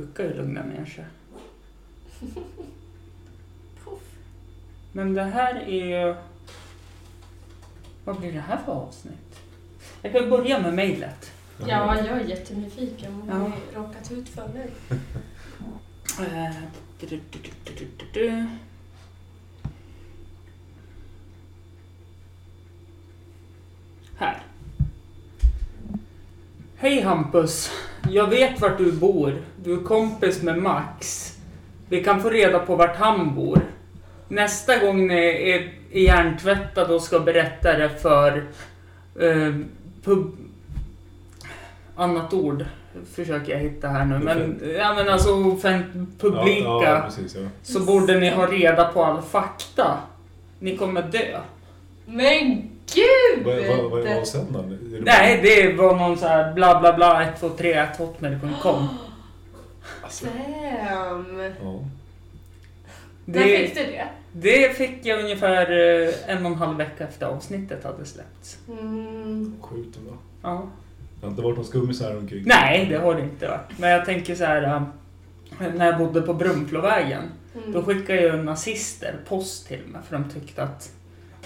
sjuka och lugna människor. Puff. Men det här är... Vad blir det här för avsnitt? Jag kan börja med mejlet. Ja, jag är jättenyfiken. Vad har Mm. Ja. vi råkat ut för nu? Eh, du- du- du- du- du- du- du. Här. Hej Hampus! Jag vet vart du bor. Du är kompis med Max. Vi kan få reda på vart han bor. Nästa gång ni är är hjärntvättade och ska berätta det för... Eh, pub... Annat ord försöker jag hitta här nu. Men, ja, men alltså offent- publika Ja, ja, precis. Ja. så borde ni ha reda på all fakta. Ni kommer dö. Men gud! Vad, vad, vad var avsändaren? Är det- Nej, det var någon så här bla bla bla 123 hotmail.com. Alltså, Damn! ja. När Det, fick du det? det fick jag ungefär eh, en och en halv vecka efter avsnittet hade släppts. Mm. Sjukt ändå. Ja. Det har inte varit någon skummis här omkring? Nej, det har det inte varit. Men jag tänker så här. eh, När jag bodde på Brunflovägen, då Mm. skickade ju nazister post till mig för de tyckte att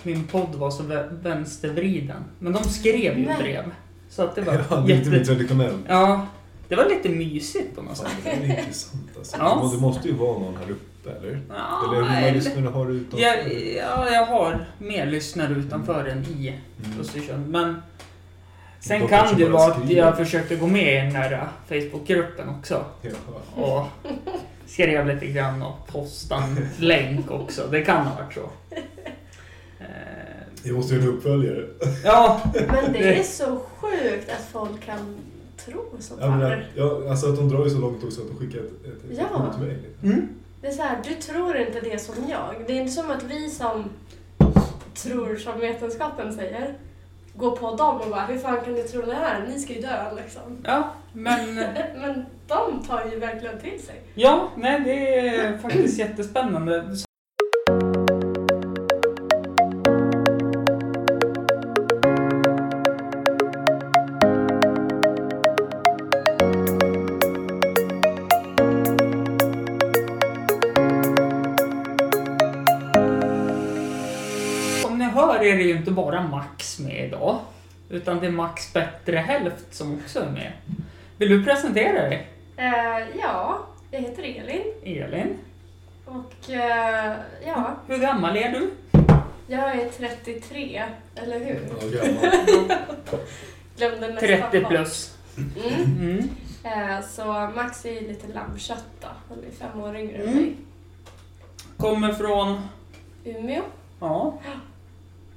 min podd var så vä- vänstervriden. Men de skrev ju Nej. brev. Så att det var Ja, det är inte jätte... mer traditionellt. Ja, det var lite mysigt på något Fan, sätt. det är intressant alltså. Ja. Det måste ju vara någon här uppe, eller? Ja, eller hur många eller- lyssnare har du utanför? jag, ja, jag har mer lyssnare utanför än i Mm. Östersund. Men sen De kan kanske det bara vara att skriver. jag försökte gå med i den där Facebookgruppen också. Ja. Och skrev lite grann och postade en länk också. Det kan ha varit så. Eh, Det måste ju vara en uppföljare. Ja, Men det är så sjukt att folk kan tro sånt Jag menar, här. ja, alltså att de drar ju så långt också att de skickar ett, ett, ett Ja. kort till mig. mm. Det är så här, du tror inte det som jag. Det är inte som att vi som tror som vetenskapen säger går på dem och bara, hur fan kan du tro det här? Ni ska ju dö liksom. ja men... Men de tar ju verkligen till sig. Ja, nej det är faktiskt jättespännande. Som ni hör är det ju inte bara Max med idag, utan det är Max bättre hälft som också är med. Vill du presentera dig? Eh, ja, jag heter Elin Elin? och eh, ja, Hur gammal är du? jag är 33, eller hur? Ja, gammal. Glömde nästan 30 vad. plus. Mm. Mm. Eh, så Max är ju lite lammkött då, han är fem år yngre än Mm. mig. Kommer från, Umeå? ja,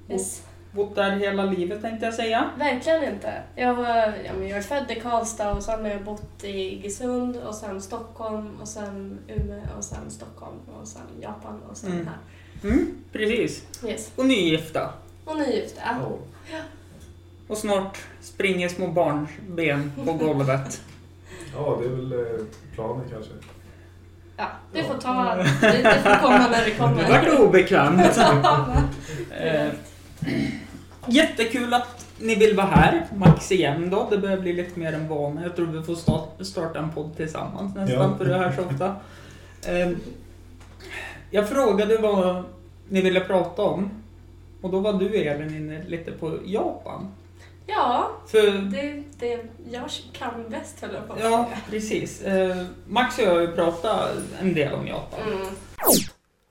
Yes. bott där hela livet tänkte jag säga. Verkligen inte. Jag, var, ja, men jag är född i Karlstad och sen har jag bott i Iggesund och sen Stockholm och sen Umeå och sen Stockholm och sen Japan och sen Mm. här. Mm, precis. Yes. Och nygifta. Och nygifta. Ja. Och snart springer små barnben på golvet. ja, det är väl eh, planen kanske. Ja, du får ta, det, det får komma när det Det kommer. vart obekvämt. Eh, Direkt. jättekul att ni vill vara här, Max igen då. Det börjar bli lite mer en vana. Jag tror vi får sta- starta en podd tillsammans nästan, Ja. för det här så ofta. Eh, jag frågade vad ni ville prata om. Och då var du Elin inne lite på Japan. Ja, För, det, det jag kan bäst höll jag på att ja, säga. precis. Eh, Max och jag har ju pratat en del om Japan. Mm.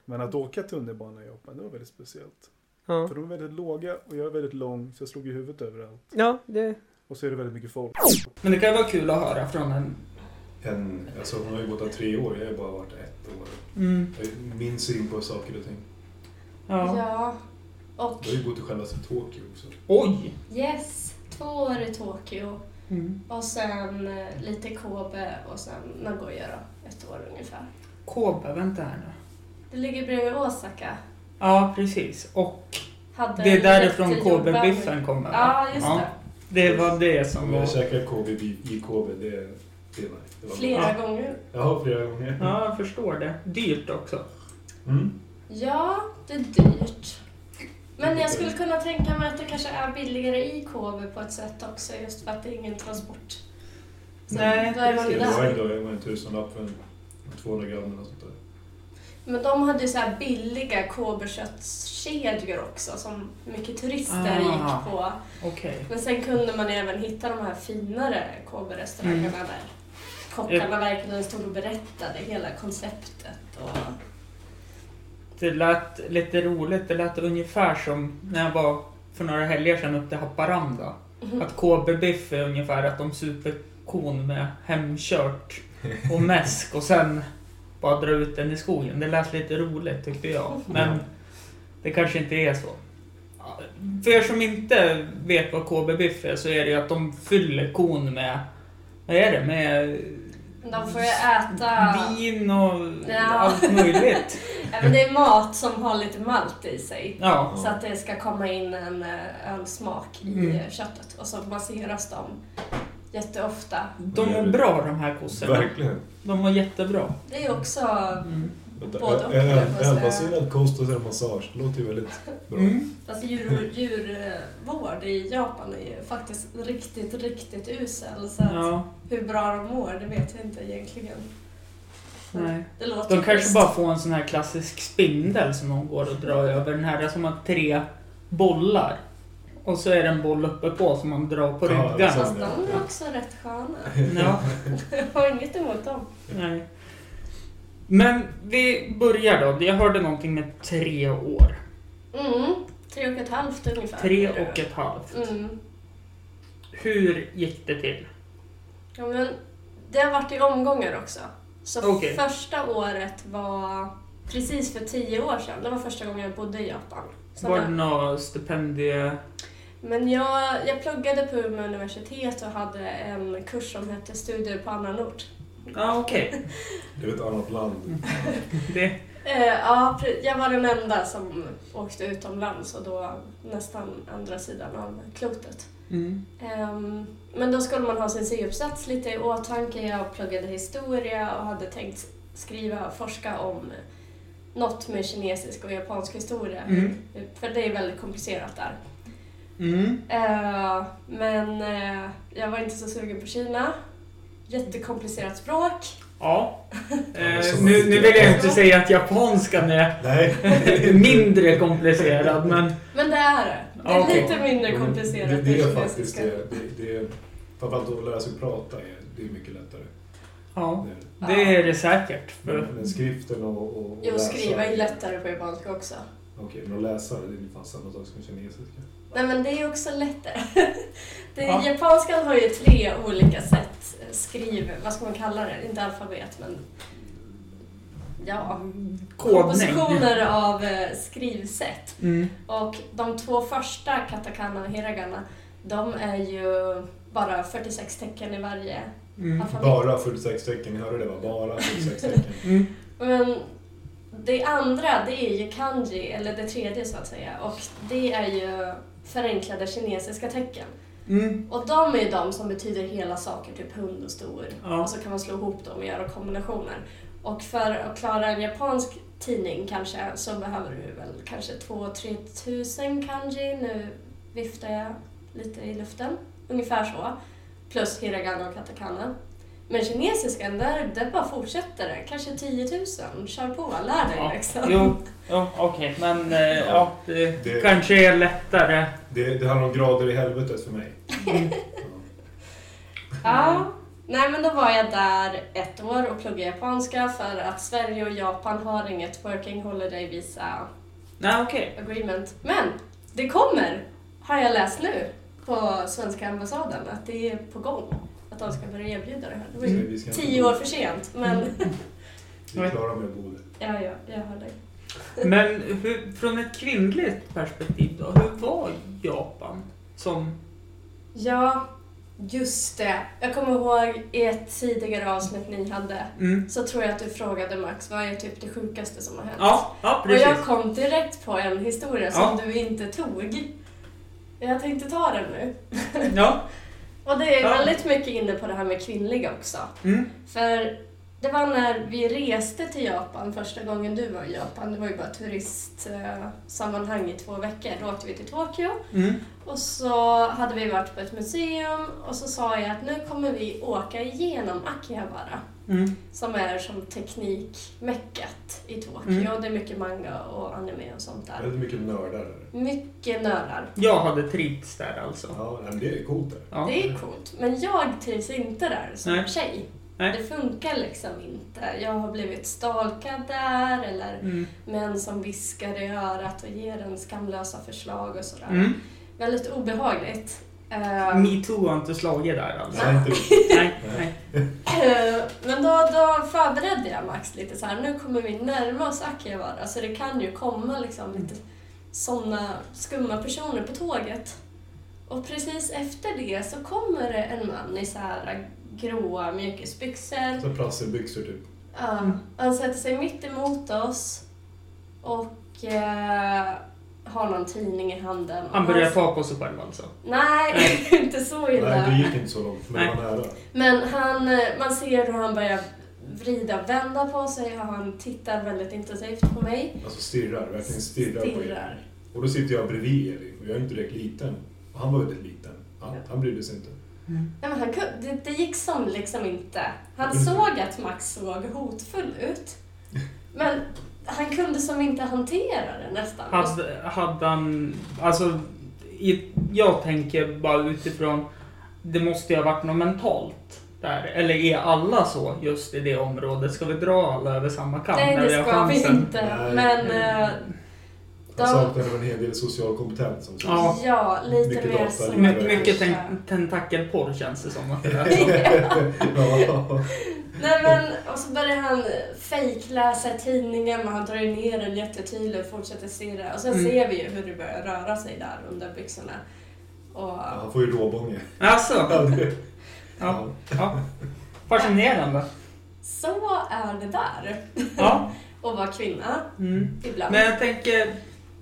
Men att åka tunnelbana i Japan, det var väldigt speciellt. Ja, För de är väldigt låga och jag är väldigt lång så jag slog ju huvudet överallt. ja det... Och så är det väldigt mycket folk. Men det kan ju vara kul att höra från en... En, alltså, hon har ju gått där tre år, jag har ju bara varit ett år. Mm, Min syn på saker och ting. ja. Ja. Och Jag har ju bott i självaste Tokyo också. Oj! yes, två år i Tokyo Mm. och sen eh, lite Kobe och sen Nagoya då, ett år ungefär. Kobe, vänta här nu. Det ligger bredvid Osaka. Ja, precis. Och Hade det är en därifrån jättejobbig- Kobe-biffen kommer. va? Ja, just Ja. det. Det var det som Om jag var... käkar KB i KB, det, det är nice. Det var Flera gånger. Ja, flera gånger. Ja, jag förstår det. Dyrt också. Mm. Ja, det är dyrt. Men jag skulle kunna tänka mig att det kanske är billigare i Kobe på ett sätt också just för att det är ingen transport. Så Nej, då är man precis. Det ju där. var ändå det var en tusenlapp för en 200 gram eller något sånt där. Men de hade ju så här billiga koberköttskedjor också som mycket turister Ah. gick på. Okej. Men sen kunde man även hitta de här finare koberrestaurangerna Mm. där kockarna verkligen stod och berättade hela konceptet. Och... Det lät lite roligt. Det lät ungefär som när jag var för några helger sedan upp till Haparanda. Att KB-biff är ungefär att de super kon med hemkört och mäsk och sen bara dra ut den i skogen. Det lät lite roligt tyckte jag. Men det kanske inte är så. För er som inte vet vad KB-biff är så är det ju att de fyller kon med, vad är det, med De får ju äta... vin och äh, Ja. allt möjligt. Ja, men det är mat som har lite malt i sig. Ja. Så att det ska komma in en, eh, en smak i Mm. eh, köttet. Och så masseras de jätteofta. De mår bra de här kossorna. Verkligen. De mår jättebra. Det är också... Mm. Vänta, Både och, en- jag får säga. En Ölbaserad kost och sen massage. Det låter ju väldigt bra. Mm. Alltså djur, djurvård i Japan är ju faktiskt riktigt, riktigt usel. Så att Ja, hur bra de mår, det vet jag inte egentligen. nej. Det låter De ju kanske schysst. bara får en sån här klassisk spindel som de går och drar över. Den här som har tre bollar. Och så är det en boll uppe på som man drar på Ja, ryggen. exakt. Fast de är också rätt sköna. Ja, Jag har inget emot dem. nej. Men vi börjar då. Jag hörde någonting med tre år. Mm, tre och ett halvt ungefär. Tre och ett halvt. Mm. Hur gick det till? Ja, men det har varit i omgångar också. Så Okej. första året var precis för tio år sedan. Det var första gången jag bodde i Japan. Så Var då- det några stipendie... Men jag, jag pluggade på Umeå universitet och hade en kurs som hette Studier på annan ort. Ja, okej. Det är ett annat Mm. land. Det... Eh, ja, pre- jag var den enda som åkte utomlands och då nästan andra sidan av klotet. Mm. Ehm, men då skulle man ha sin C-uppsats lite i åtanke. Jag pluggade historia och hade tänkt skriva och forska om något med kinesisk och japansk historia. Mm. För det är väldigt komplicerat där. Mm. Eh, men eh, jag var inte så sugen på Kina. Jättekomplicerat språk. Ja. men Eh, så- nu, nu vill jag inte säga att japanskan är Nej. mindre komplicerad, men Men det är det. Det är Ah, Ja, okej. lite mindre komplicerat Det, det är än faktiskt kinesiska. det. det, det är, framförallt att lära sig prata är, det är mycket lättare. ja, Det är det. det är det säkert. För, Men, men skriften och, och, och Jo, läsa- Mm. skriva är lättare på japanska också. Okej, men att läsa det är fan samma sak som kinesiska. Nej, men det är också lättare. Det, Ja. Ah. Japanskan har ju tre olika sätt. Skriv, vad ska man kalla det? Inte alfabet, men... Ja. kodning. Kompositioner av eh, skrivsätt. Mm. Och de två första, katakana och hiragana, de är ju bara 46 tecken i varje Mm. alfabet. Bara 46 tecken, ni hörde det va? Bara 46 tecken. Mm. Men det andra, det är ju kanji, eller det tredje så att säga, och det är ju förenklade kinesiska tecken. Mm. Och de är ju de som betyder hela saker, typ hund och stor. Ja. Och så kan man slå ihop dem och göra kombinationer. Och för att klara en japansk tidning kanske så behöver du väl kanske 2-3 tusen kanji. Nu viftar jag lite i luften. Ungefär så. Plus hiragana och katakana. Men kinesiskan, där, där bara fortsätter det. Kanske 10 000. Kör på, lär dig Ja. liksom. Jo, ja, okej, men eh, ja, det, Det- kanske är lättare. Det, det handlar om grader i helvetet för mig. Mm. Ja. Ja. Nej men då var jag där ett år och pluggade japanska för att Sverige och Japan har inget working holiday visa Nej, okej. agreement. Men det kommer, har jag läst nu på svenska ambassaden, att det är på gång. Att de ska börja erbjuda det här. Det var ju Vi ska inte- tio år för sent, men Vi är klara med Bodil. ja, ja, jag hör dig. Men hur, från ett kvinnligt perspektiv då, hur var Japan? Som, Ja, just det. Jag kommer ihåg i ett tidigare avsnitt ni hade mm. så tror jag att du frågade Max, vad är typ det sjukaste som har hänt? ja, ja, Och jag precis. kom direkt på en historia som du inte tog. Jag tänkte ta den nu. Ja, Och det är Ja. väldigt mycket inne på det här med kvinnliga också. mm. För Det var när vi reste till Japan första gången du var i Japan. Det var ju bara turistsammanhang i två veckor. Då åkte vi till Tokyo Mm. och så hade vi varit på ett museum och så sa jag att nu kommer vi åka igenom Akihabara Mm. som är som teknikmeckat i Tokyo. Mm. Det är mycket manga och anime och sånt där. Väldigt mycket nördar där. Mycket nördar. Jag hade trivts där alltså. Ja, nej, men det är coolt där. Ja. Det är coolt, men jag trivs inte där som Nej. tjej. Nej. Det funkar liksom inte. Jag har blivit stalkad där eller Mm. män som viskar i örat och ger en skamlösa förslag och sådär. Mm. Väldigt obehagligt. Eh, Metoo har inte slagit där alltså. Nej, inte riktigt. Nej, nej. Eh, Men då, då förberedde jag Max lite så här. nu kommer vi närma oss Akihabara så det kan ju komma liksom lite sådana skumma personer på tåget. Och precis efter det så kommer det en man i så här gråa mjukisbyxor. Så prasselbyxor typ. Ja, Mm. han sätter sig mitt emot oss och eh, har någon tidning i handen. Och Han börjar ta på sig själv alltså. Nej, inte så illa. Nej, det gick inte så långt, men det var Nej. nära. Men han, eh, man ser hur han börjar vrida och vända på sig och han tittar väldigt intensivt på mig. Alltså stirrar, verkligen stirrar, på er. Stirrar. Och då sitter jag bredvid er och jag är inte direkt liten. Och han var väldigt liten. Han, han brydde sig inte. Nej, men han, kun- det, det gick som liksom inte. Han Mm. såg att Max såg hotfull ut. Men han kunde som inte hantera det nästan. Hade, hade han... Alltså, i, jag tänker bara utifrån... Det måste ju ha varit något mentalt där. Eller är alla så just i det området? Ska vi dra alla över samma kam? Nej, när det vi har ska vi chansen? inte. Nej. Alltså, Men eh, Han De- saknade en hel del social kompetens. Som sagt. Ja. ja, lite Mycket mer data, som... My, Mycket mycket ten, tentakelporr känns det som att det är. Ja. Nej men, och så börjar han fejkläsa tidningen men han drar ju ner den jättetydligt och fortsätter stirra. Och sen Mm. ser vi ju hur det börjar röra sig där under byxorna. Och, Ja, Han får ju råbånge. Alltså, Ja, det- ja, ja. ja. Fascinerande. Så är det där. Ja. Och vara kvinna Mm. ibland. Men jag tänker,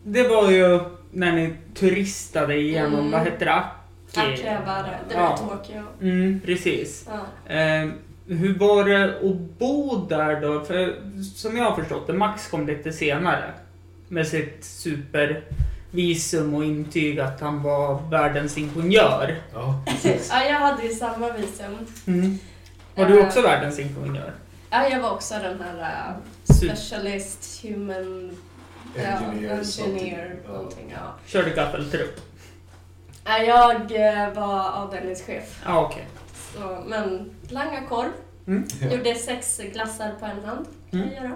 det var ju när ni turistade igenom, Mm. vad hette det? Aki- Att kräva det. Det var Ja. Tokyo. Mm, precis. Ja. Eh, hur var det att bo där då? För som jag har förstått det, Max kom lite senare med sitt supervisum och intyg att han var världens ingenjör. Ja. ja, jag hade ju samma visum. Mm. Var du Eh, också världens ingenjör? Ja, jag var också den här eh, Super. specialist human Engineer. ja, engineer something. Ja. någonting. Ja. Körde gaffeltrupp? Ja, Jag eh, var avdelningschef. Ja, ah, okej. Så, men langa korv. Gjorde sex glassar på en hand, kan jag Mm. göra.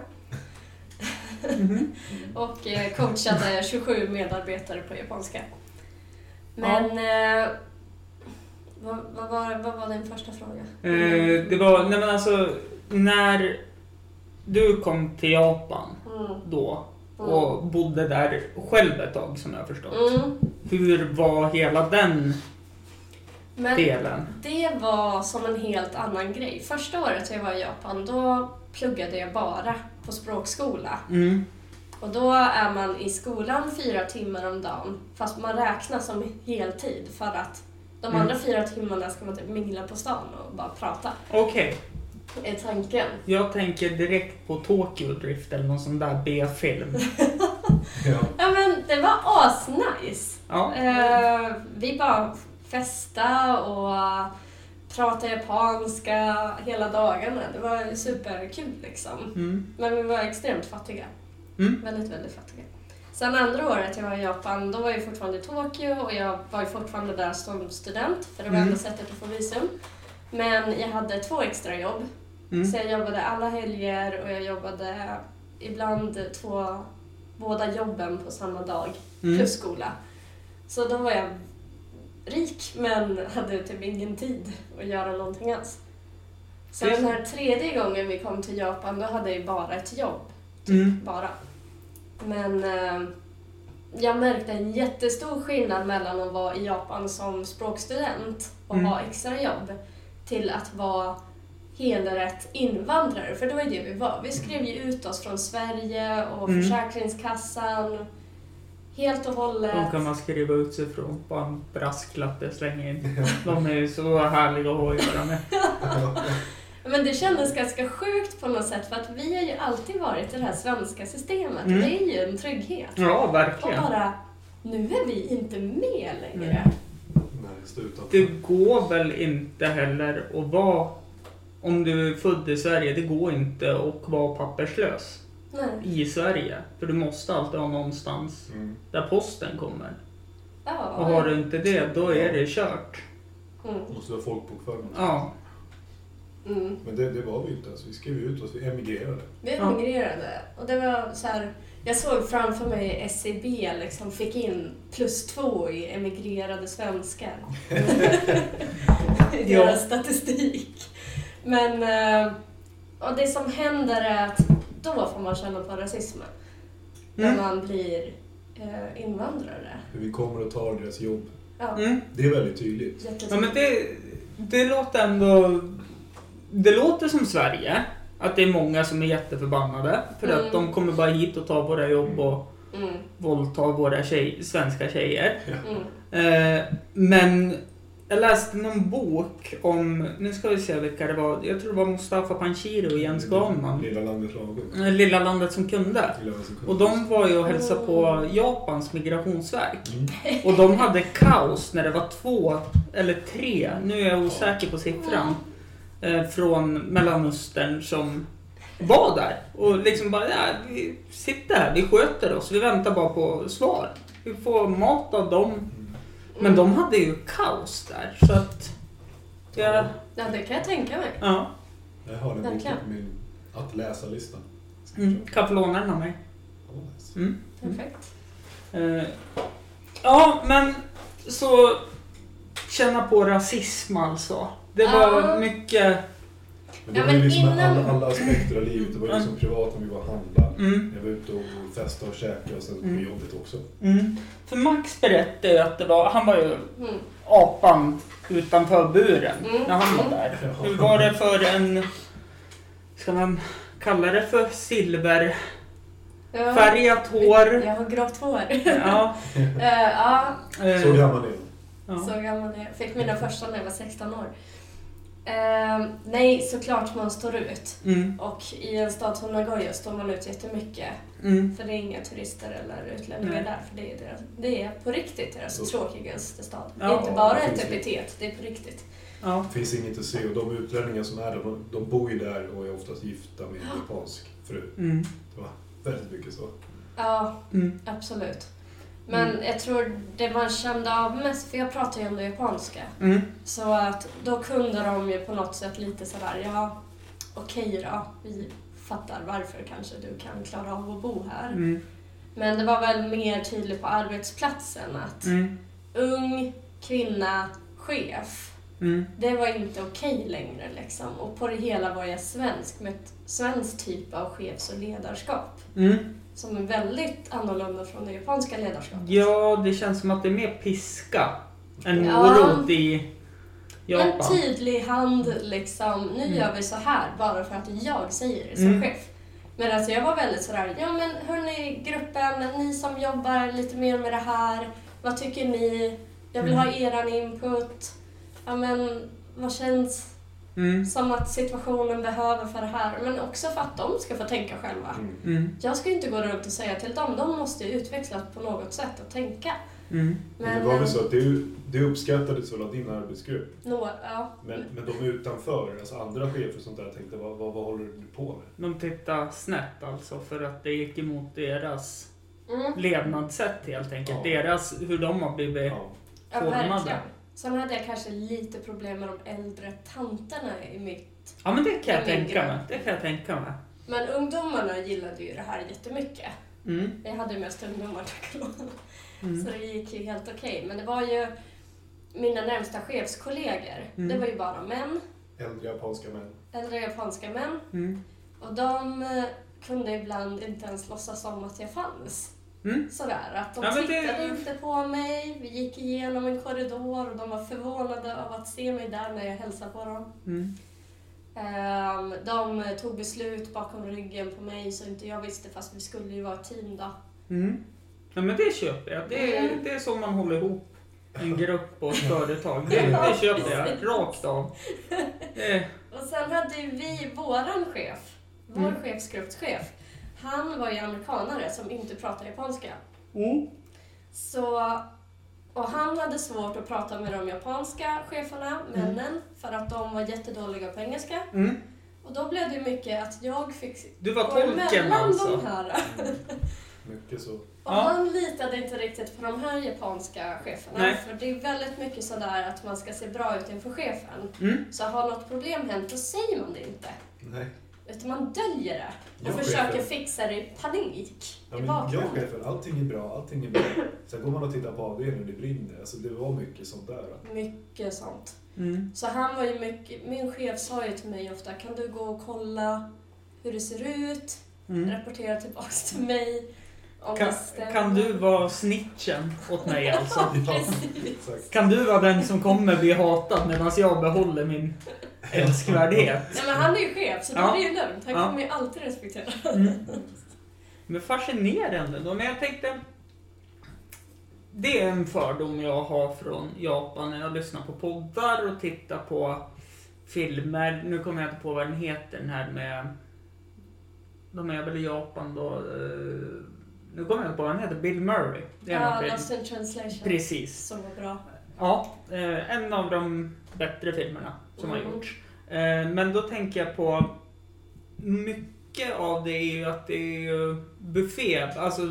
Mm-hmm. Mhm. Och eh, coachade 27 medarbetare på japanska. Men... Eh, vad, vad, var, vad var din första fråga? Mm. Eh, det var, nej men alltså, när du kom till Japan Mm. då och bodde där själv ett tag som jag har förstått. Mm. Hur var hela den Men delen? det var som en helt annan grej. Första året jag var i Japan, då pluggade jag bara på språkskola. Mm. Och då är man i skolan fyra timmar om dagen, fast man räknas som heltid för att de Mm. andra fyra timmarna ska man typ mingla på stan och bara prata, Okej, är tanken. jag tänker direkt på Tokyo Drift eller någon sån där B-film. Ja. Ja men det var asnice! Ja. Eh, vi bara festa och pratade japanska hela dagarna. Det var superkul liksom. Mm. Men vi var extremt fattiga. Mm. Väldigt, väldigt fattiga. Sen andra året jag var i Japan, då var jag fortfarande i Tokyo och jag var ju fortfarande där som student, för det var Mm. enda sättet att få visum. Men jag hade två extra jobb, Mm. så jag jobbade alla helger och jag jobbade ibland två, båda jobben på samma dag, Mm. plus skola. Så då var jag rik, men hade typ ingen tid att göra någonting alls. Så Just den här tredje gången vi kom till Japan, då hade jag ju bara ett jobb Mm. typ, bara. Men eh, jag märkte en jättestor skillnad mellan att vara i Japan som språkstudent och Mm. ha extra jobb till att vara helrätt invandrare, för det var ju det vi var. Vi skrev ju ut oss från Sverige och Mm. Försäkringskassan helt och hållet. De kan man skriva ut sig från. Bara en brasklapp jag slänger in. De är ju så härliga att ha att göra med. Men det kändes ganska sjukt på något sätt för att vi har ju alltid varit i det här svenska systemet. Mm. Det är ju en trygghet. Ja, Och verkligen. bara, nu är vi inte med längre. Mm. Nej, stå utanför. Det går väl inte heller att vara, om du är född i Sverige, det går inte att vara papperslös Nej. i Sverige. För du måste alltid ha någonstans Mm. där posten kommer. Ja. Och har du inte det, då är det kört. Mm. Måste vara folkbokförd. Ja, Mm. Men det, det var vi inte ens. Vi skrev ut oss. Vi emigrerade. Vi Ja. emigrerade och det var så här, jag såg framför mig SEB liksom fick in plus två i emigrerade svenskar. I Ja. deras statistik. Men eh, och det som händer är att då får man känna på rasismen. Mm. När man blir eh, invandrare. Hur vi kommer och tar deras jobb. Ja, mm. Det är väldigt tydligt. jättetydligt. ja men det, det låter ändå... Det låter som Sverige. Att det är många som är jätteförbannade. För att Mm. de kommer bara hit och tar våra jobb och Mm, våldtar våra tjej, svenska tjejer. mm, Eh, men jag läste någon bok om, nu ska vi se vilka det var, jag tror det var Mustafa Panshiri och Jens Ganman. Lilla landet lagom. Eh, Lilla landet som kunde. Lilla landet som kunde. Och de var ju och hälsade på Japans migrationsverk. Mm. Och de hade kaos när det var två eller tre, nu är jag osäker på siffran, eh, från Mellanöstern som var där. Och liksom bara, ja, vi sitter här, vi sköter oss, vi väntar bara på svar. Vi får mat av dem, mm. men de hade ju kaos där så att... Ja. Ja, det kan jag tänka mig. ja. Jag har den boken Verkligen. på min att läsa-lista. Ska jag Mm. köpa? Kan få låna den av mig. Ja, nice. Mm. Perfekt. Eh, ja, men så... Känna på rasism alltså. Det var Ja. mycket... Men det Ja, var ju men liksom innan- Mm. alla, alla aspekter av livet. Det var ju liksom privat när vi var och handlade. Mm, Jag var ute och festade och käkade och sen på Mm. jobbet också. mm. För Max berättade ju att det var... Han var ju Mm, apan utanför buren Mm. när han var där. Ja. Hur var det för en... Ska man kalla det för silverfärgat ja. hår? Jag har grått hår. Ja. Eh, ja, eh, Så gammal är jag. ja. Så gammal är jag. Fick mina första när jag var 16 år. Ehm, nej, såklart man står ut. Mm, Och i en stad som Nagoya står man ut jättemycket. mm, För det är inga turister eller utlänningar Nej. där. För det är, deras, det är på riktigt deras tråkigaste stad. det Ja, är inte bara det ett finns ju. epitet, det är på riktigt. ja. Det finns inget att se och de utlänningar som är där, de, de bor ju där och är oftast gifta med en Ah. japansk fru. Mm, Väldigt mycket så. Ja, mm, absolut. Men Mm. jag tror det man kände av mest, för jag pratar ju ändå japanska. mm, Så att då kunde de ju på något sätt lite sådär, ja okej då, vi fattar varför kanske du kan klara av att bo här. mm, Men det var väl mer tydligt på arbetsplatsen att mm, ung kvinna, chef, mm, det var inte okej längre liksom. Och på det hela var jag svensk med ett svenskt typ av chefs och ledarskap mm. som är väldigt annorlunda från det japanska ledarskapet. Ja, det känns som att det är mer piska än Ja. typ- morot i En Japan. tydlig hand liksom, nu Mm. gör vi så här bara för att jag säger det som Mm. chef. Men alltså jag var väldigt sådär, ja men hörni gruppen, ni som jobbar lite mer med det här, vad tycker ni? Jag vill Mm. ha eran input. Ja men vad känns Mm, som att situationen behöver för det här? Men också för att de ska få tänka själva. Mm. mm, Jag ska ju inte gå runt och säga till dem, de måste ju utvecklas på något sätt att tänka. mm, Men Men, det var eh, väl så att det, det uppskattades väl av din arbetsgrupp. nå, ja. Men, men de utanför, alltså andra chefer och sånt där, tänkte vad, vad, vad håller du på med? De tittar snett alltså för att det gick emot deras Mm. levnadssätt helt enkelt. Ja. Deras, hur de har Eh. blivit. Ja. Ja, formade. verkligen. Sen hade jag kanske lite problem med de äldre tanterna i mitt... Ja men det kan jag Det är min tänka grej. mig. Det kan jag tänka mig. Men ungdomarna gillade ju det här jättemycket. Mm, Jag hade ju mest ungdomar, tack och lov. Så mm, det gick ju helt okej. Men det var ju mina närmsta chefskollegor. Mm. Det var ju bara män, Äldre japanska män. äldre japanska män. mm, Och de eh, kunde ibland inte ens låtsas om att jag fanns. mm. Sådär, att de Ja, men det- tittade inte på mig. Vi gick igenom en korridor och de var förvånade av att se mig där när jag hälsade på dem. mm. Ehm, De tog beslut bakom ryggen på mig så inte jag visste fast vi skulle ju vara ett team då. mm. Ja men det köper jag. Det är, Mm. det är så man håller ihop en grupp och ett företag. Det, det köper jag rakt av. Det är, Och Och sen hade ju vi våran chef, vår Mm. chefsgruppschef, han var ju amerikanare som inte pratar japanska. Mm. Så, och han hade svårt att prata med de japanska cheferna, männen, för att de var jättedåliga på engelska. Mm. Och då blev det ju mycket att jag fick Du var tolken de alltså? här. Mycket så. Och Ja. han litade inte riktigt på de här japanska cheferna. Nej. För det är väldigt mycket sådär att man ska se bra ut inför chefen. Mm. Så har något problem hänt, då säger man det inte. Nej. Utan man döljer det och Jag vet försöker det. fixa det i panik. Ja, I men jag är bakgrunden. chefen, allting är bra, allting är bra. Sen går man och tittar på avdelningen och det brinner. Alltså det var mycket sånt där. Mycket sånt. Mm. Så han var ju mycket, min chef sa ju till mig ofta, kan du gå och kolla hur det ser ut? Mm. Rapportera tillbaks till mig om Kan, det stämmer. kan du vara snitchen åt mig alltså? Ja, Ja. precis. Exakt. Kan du vara den som kommer bli hatad medan jag behåller min älskvärdhet? Nej, men han är ju chef så då Ja. är det ju lugnt. Han Ja. kommer ju alltid respektera. Mm. Men fascinerande då. Men jag tänkte... Det är en fördom jag har från Japan när jag lyssnar på poddar och tittar på filmer. Nu kommer jag inte på vad den heter, den här med... De är väl i Japan då. eh, Nu kommer jag inte på vad den heter. Bill Murray. Det är Ja, någon Lost film. in translation. Precis. Som var bra. Ja, eh, en av de bättre filmerna som har Mm. gjorts. Eh, men då tänker jag på mycket av det är ju att det är ju buffé, alltså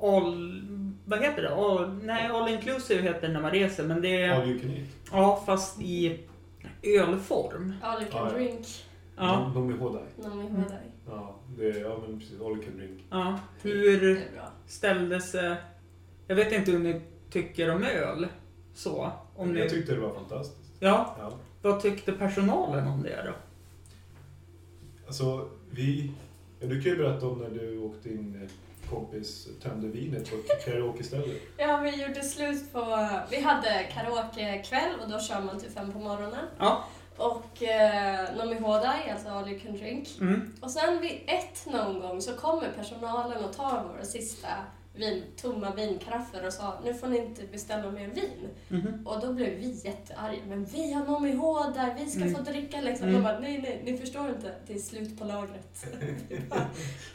all, vad heter det? All, nej, all inclusive heter det när man reser, men det är, All you can eat. ja fast i ölform. All you can Ja, ja. drink. Ja, De, de är hårda. Någon Mm. ihåg dig. Ja, det är, ja men precis. All you can drink. ja. Det Hur är bra. ställde sig, jag vet inte hur ni tycker om öl, så. Om jag ni, tyckte det var fantastiskt. ja, Ja. vad tyckte personalen om det då? Alltså, vi... Ja, du kan ju berätta om när du och din eh, kompis tömde vinet på ett karaokeställe. Ja, vi gjorde slut på... Vi hade karaokekväll och då kör man till fem på morgonen. Ja. Och eh, Nomi Hodai, alltså All You Can Drink. Mm. Och sen vid ett någon gång så kommer personalen och tar våra sista vin, tomma vinkaraffer och sa nu får ni inte beställa mer vin. Mhm. Och då blev vi jättearga. Men vi har Nomi Hodai, vi ska Mm. få dricka liksom. Mm. De bara, nej, nej, ni förstår inte. Det är slut på lagret. Vi bara,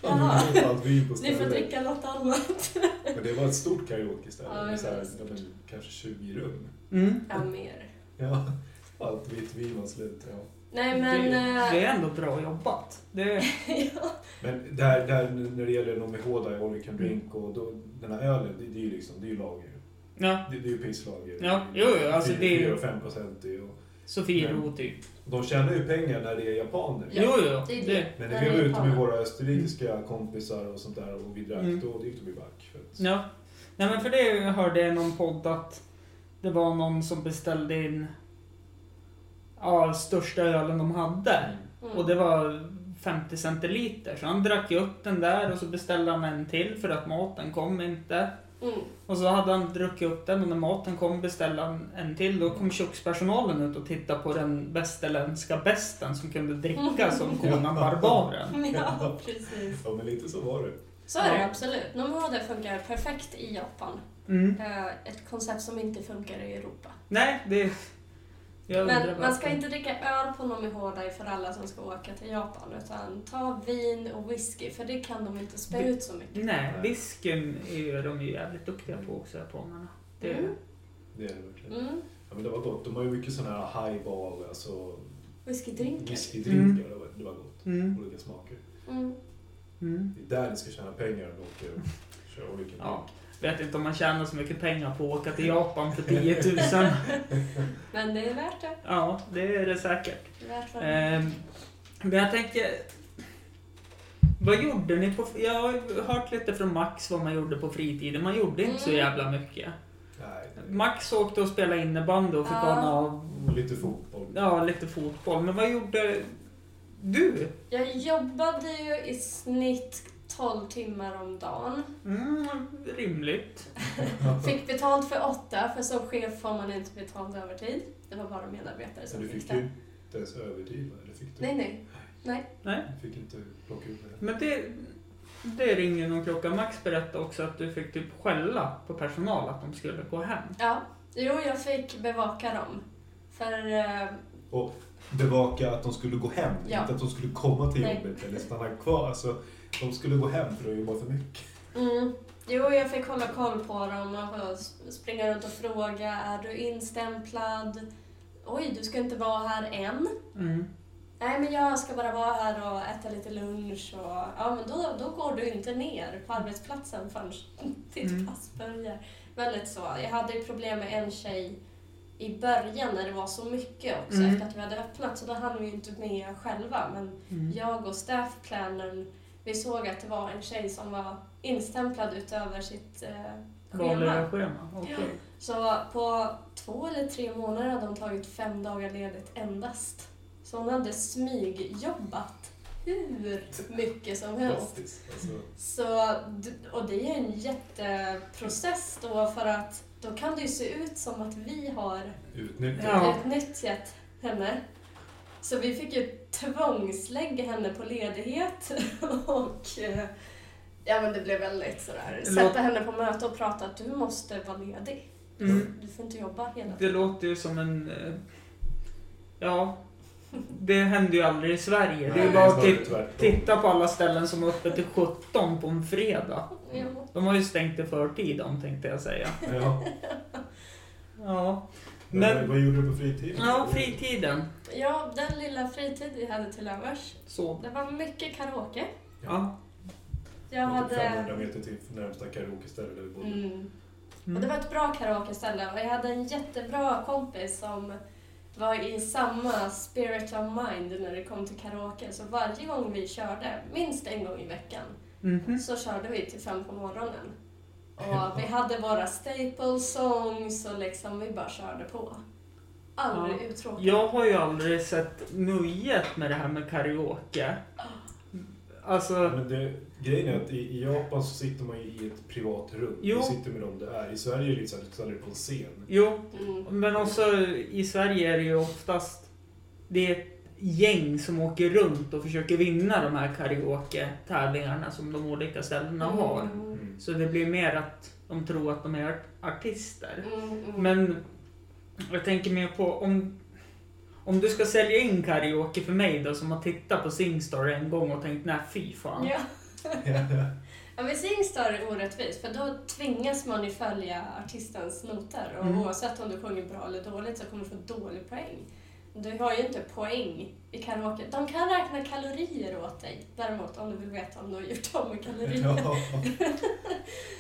Ja, Jaha. vi åt allt vin på Ni får stället. dricka något annat. Men det var ett stort karaokeställe Ja, det med så här, var ja, men, kanske 20 rum. Mm. Ja, mer. Ja, allt vitt vin var slut. Ja. Nej, men... det, eh, det är ändå bra jobbat. Det, Men där, där, när det gäller Nomi Hodai och All You Can Mm. Drink och då, den här ölen, det, det är ju liksom, det är ju lager. ja, Det, det är ju pisslager. Ja, jo, jo, alltså det är ju- 4-5 procent. Och Sofiero typ. de tjänar ju pengar när det är japaner. Ja, Jo, jo, det är det. det. Men Nej, när vi var ute japaner. med våra österrikiska kompisar och sånt där och vi drack, Mm. då gick de ju back. För att, Ja. Nej men för det hörde jag i någon podd att det var någon som beställde in ja, största ölen de hade. Mm. Och det var 50 centiliter. Så han drack ju upp den där och så beställde han en till för att maten kom inte. Mm. Och så hade han druckit upp den och när maten kom beställde han en till. Då kom kökspersonalen ut och tittade på den västerländska besten som kunde dricka som konan barbaren. Ja, precis. Ja, men lite så var det. Så är det Ja. absolut. Nomader funkar perfekt i Japan. Mm. Eh, Ett koncept som inte funkar i Europa. Nej, det... Jag undrar Men man ska varför. inte dricka öl på Nomi Hodai för alla som ska åka till Japan. Utan ta vin och whisky, för det kan de inte spä Det- ut så mycket. Nej, whiskyn är ju de ju jävligt duktiga på också, japanerna. Det... Mm. Det är det verkligen. Mm. Ja, men det var gott. De har ju mycket sådana här highball, alltså Whiskydrinkar. whiskydrinkar. Det var- Det var gott. Mm. Olika smaker. Mm. Mm. Det är där ni ska tjäna pengar om ni åker och kör olika Ja. Vet inte om man tjänar så mycket pengar på att åka till Japan för 10 000. Men det är värt det. Ja, det är det säkert. Det är värt det. Ehm, men jag tänker... Vad gjorde ni på... Jag har hört lite från Max vad man gjorde på fritiden. Man gjorde inte så Mm. jävla mycket. Nej, Max åkte och spelade innebandy och fick Ja. ana av och lite fotboll. Ja, lite fotboll. Men vad gjorde du? Jag jobbade ju i snitt 12 timmar om dagen. Mm, rimligt. Fick betalt för åtta, för som chef får man inte betalt övertid. Det var bara medarbetare Så som du fick, fick det. ju inte ens övertid, va? eller fick du? Nej, nej. Du fick inte plocka ut det. Men det, det ringer någon klocka. Max berättade också att du fick typ skälla på personal att de skulle gå hem. Ja. Jo, jag fick bevaka dem. För eh, Och bevaka att de skulle gå hem. Ja. Inte att de skulle komma till Nej. jobbet eller stanna kvar. Alltså, de skulle gå hem för att jobba för mycket. Mm. Jo, jag fick hålla koll på dem och få s- springa runt och fråga. Är du instämplad? Oj, du ska inte vara här än. Mm. Nej, men jag ska bara vara här och äta lite lunch. Och, ja, men då, då går du inte ner på arbetsplatsen förrän ditt Mm. pass börjar. Väldigt så. Jag hade ju problem med en tjej i början när det var så mycket också Mm. efter att vi hade öppnat så då hann vi ju inte med själva. Men Mm. jag och staffplanern, vi såg att det var en tjej som var instämplad utöver sitt eh, schema. Vanliga schema. Okej. Så på två eller tre månader hade hon tagit fem dagar ledigt endast. Så hon hade smygjobbat hur mycket som helst. Fantastiskt. Alltså, Så, d- och det är en jätteprocess då för att då kan det ju se ut som att vi har utnyttja. Ja. utnyttjat henne. Så vi fick ju tvångslägga henne på ledighet och eh, ja men det blev väldigt sådär, Låt- sätta henne på möte och prata att du måste vara ledig. Mm. Du får inte jobba hela tiden. Det låter ju som en... eh, Ja. Det händer ju aldrig i Sverige. Det är Nej, ju bara att snarare titta, tvärtom. titta på alla ställen som är öppet till 17 på en fredag. Ja. De har ju stängt i förtid de tänkte jag säga. Ja. Ja. Men... Men... Vad gjorde du på fritiden? Ja, fritiden. ja, den lilla fritid vi hade till övers. Så. Det var mycket karaoke. Ja. Jag Det var typ hade... 500 meter till närmsta karaokeställe där vi bodde. Mm. Och det Mm. var ett bra karaokeställe och jag hade en jättebra kompis som var i samma spirit of mind när det kom till karaoke. Så varje gång vi körde, minst en gång i veckan, Mhm. så körde vi till fem på morgonen. Och vi hade våra staple songs och liksom vi bara körde på. Aldrig Ja. uttråkade. Jag har ju aldrig sett nöjet med det här med karaoke. Alltså, Men det, grejen är att i, i Japan så sitter man ju i ett privat rum. Jo. Du sitter med dem du är. I Sverige är det lite så här, du ställer dig på en scen. jo, Mm. men också i Sverige är det ju oftast det är ett gäng som åker runt och försöker vinna de här karaoke-tävlingarna som de olika ställena har. Mm. Mm. Så det blir mer att de tror att de är artister. Mm, mm. Men jag tänker mer på om, om du ska sälja in karaoke för mig då som har tittat på Singstar en gång och tänkt nej fy fan. Ja. Ja, men Singstar är orättvist för då tvingas man ju följa artistens noter och Mm. oavsett om du sjunger bra eller dåligt så kommer du få dålig poäng. Du har ju inte poäng i karaoke. De kan räkna kalorier åt dig däremot om du vill veta om du har gjort av med kalorier. Ja.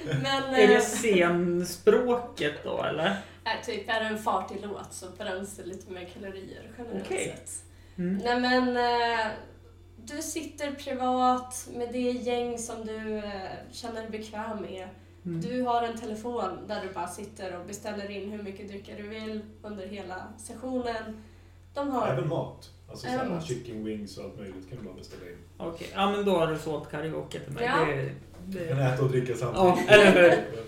Men Är det eh, scenspråket då eller? äh, typ är det en fartig låt så bränns det lite mer kalorier generellt Okej. sett. Mm. Nej men, eh, du sitter privat med det gäng som du eh, känner dig bekväm med. Mm. Du har en telefon där du bara sitter och beställer in hur mycket drycker du vill under hela sessionen. De har... Även mat. Alltså så Även här, mat. chicken wings och allt möjligt kan du bara beställa in. Okej, ja men då har du sålt karaoke till mig. Ja. Det, Du kan det, äta och dricka ja, samtidigt. eller hur?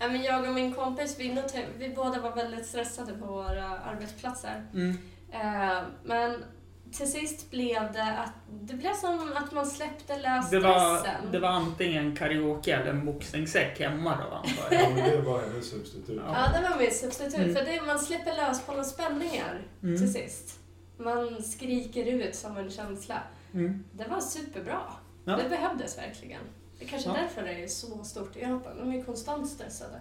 Ja, men jag och min kompis, vi, noter- vi båda var väldigt stressade på våra arbetsplatser. Mm. Eh, Men till sist blev det att det blev som att man släppte lös Det, var, stressen. det var antingen karaoke eller en boxningssäck hemma då antar jag. Ja, men det var hennes substitut. Ja. Ja, det var mitt substitut. Mm. För det, man släpper lös på några spänningar Mm. till sist. Man skriker ut som en känsla. Mm. Det var superbra. Ja. Det behövdes verkligen. Det är kanske Ja. därför det är så stort i Japan. De är ju konstant stressade.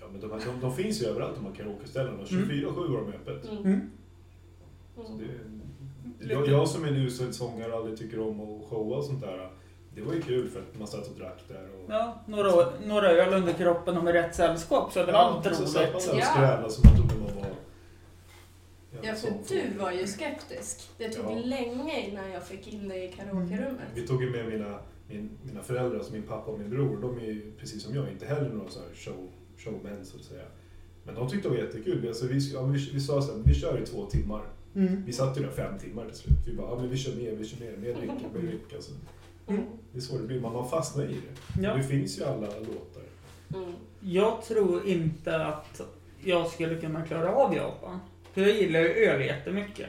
Ja, men de, här, de, de finns ju överallt de här karaokeställena. 24-7 har de öppet. Mm. Mm. Så Mm. det, jag, jag som är en usel sångare och aldrig tycker om att showa och sånt där. Det var ju kul för att man satt och drack där. Och, Ja, några, några öl under kroppen och med rätt sällskap så är väl allt Så satt man roligt. där och Ja. skrävlade som man trodde man var... Ja, för du var ju skeptisk. Det tog Ja. länge innan jag fick in dig i karaokerummet. Vi tog ju med mina, min, mina föräldrar, alltså min pappa och min bror. De är ju precis som jag, inte heller några så här show, showmen så att säga. Men de tyckte det var jättekul. Alltså, vi, ja, men vi, vi sa så här, vi kör i två timmar. Mm. Vi satt ju där fem timmar till slut. Vi bara, ja men vi kör mer, vi kör mer, mer dricka, mer dricka. Alltså, Mm. det är så det blir, man, man fastnar i det. Ja. Det finns ju alla låtar. Mm. Jag tror inte att jag skulle kunna klara av Japan. För jag gillar ju öl jättemycket.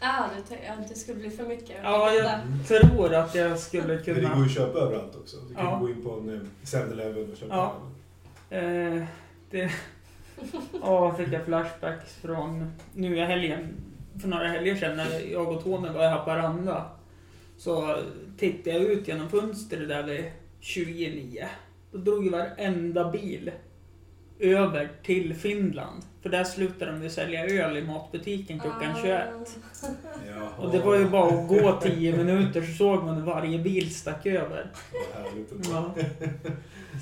Ah, du tänkte att det skulle bli för mycket. Ja, jag Där. tror att jag skulle Men Mm. det går ju kunna... att köpa överallt också. Du kan Ja. gå in på en eh, 7-Eleven och köpa Ja. Eh, det... Ja, fick jag flashbacks från nu i helgen. för några helger sedan när jag och Tony var i Haparanda så tittade jag ut genom fönstret där vid 29. Då drog ju varenda bil över till Finland. För där slutade de ju sälja öl i matbutiken klockan Ah. 21. Jaha. Och det var ju bara att gå 10 minuter så såg man hur varje bil stack över. Vad härligt. Ja.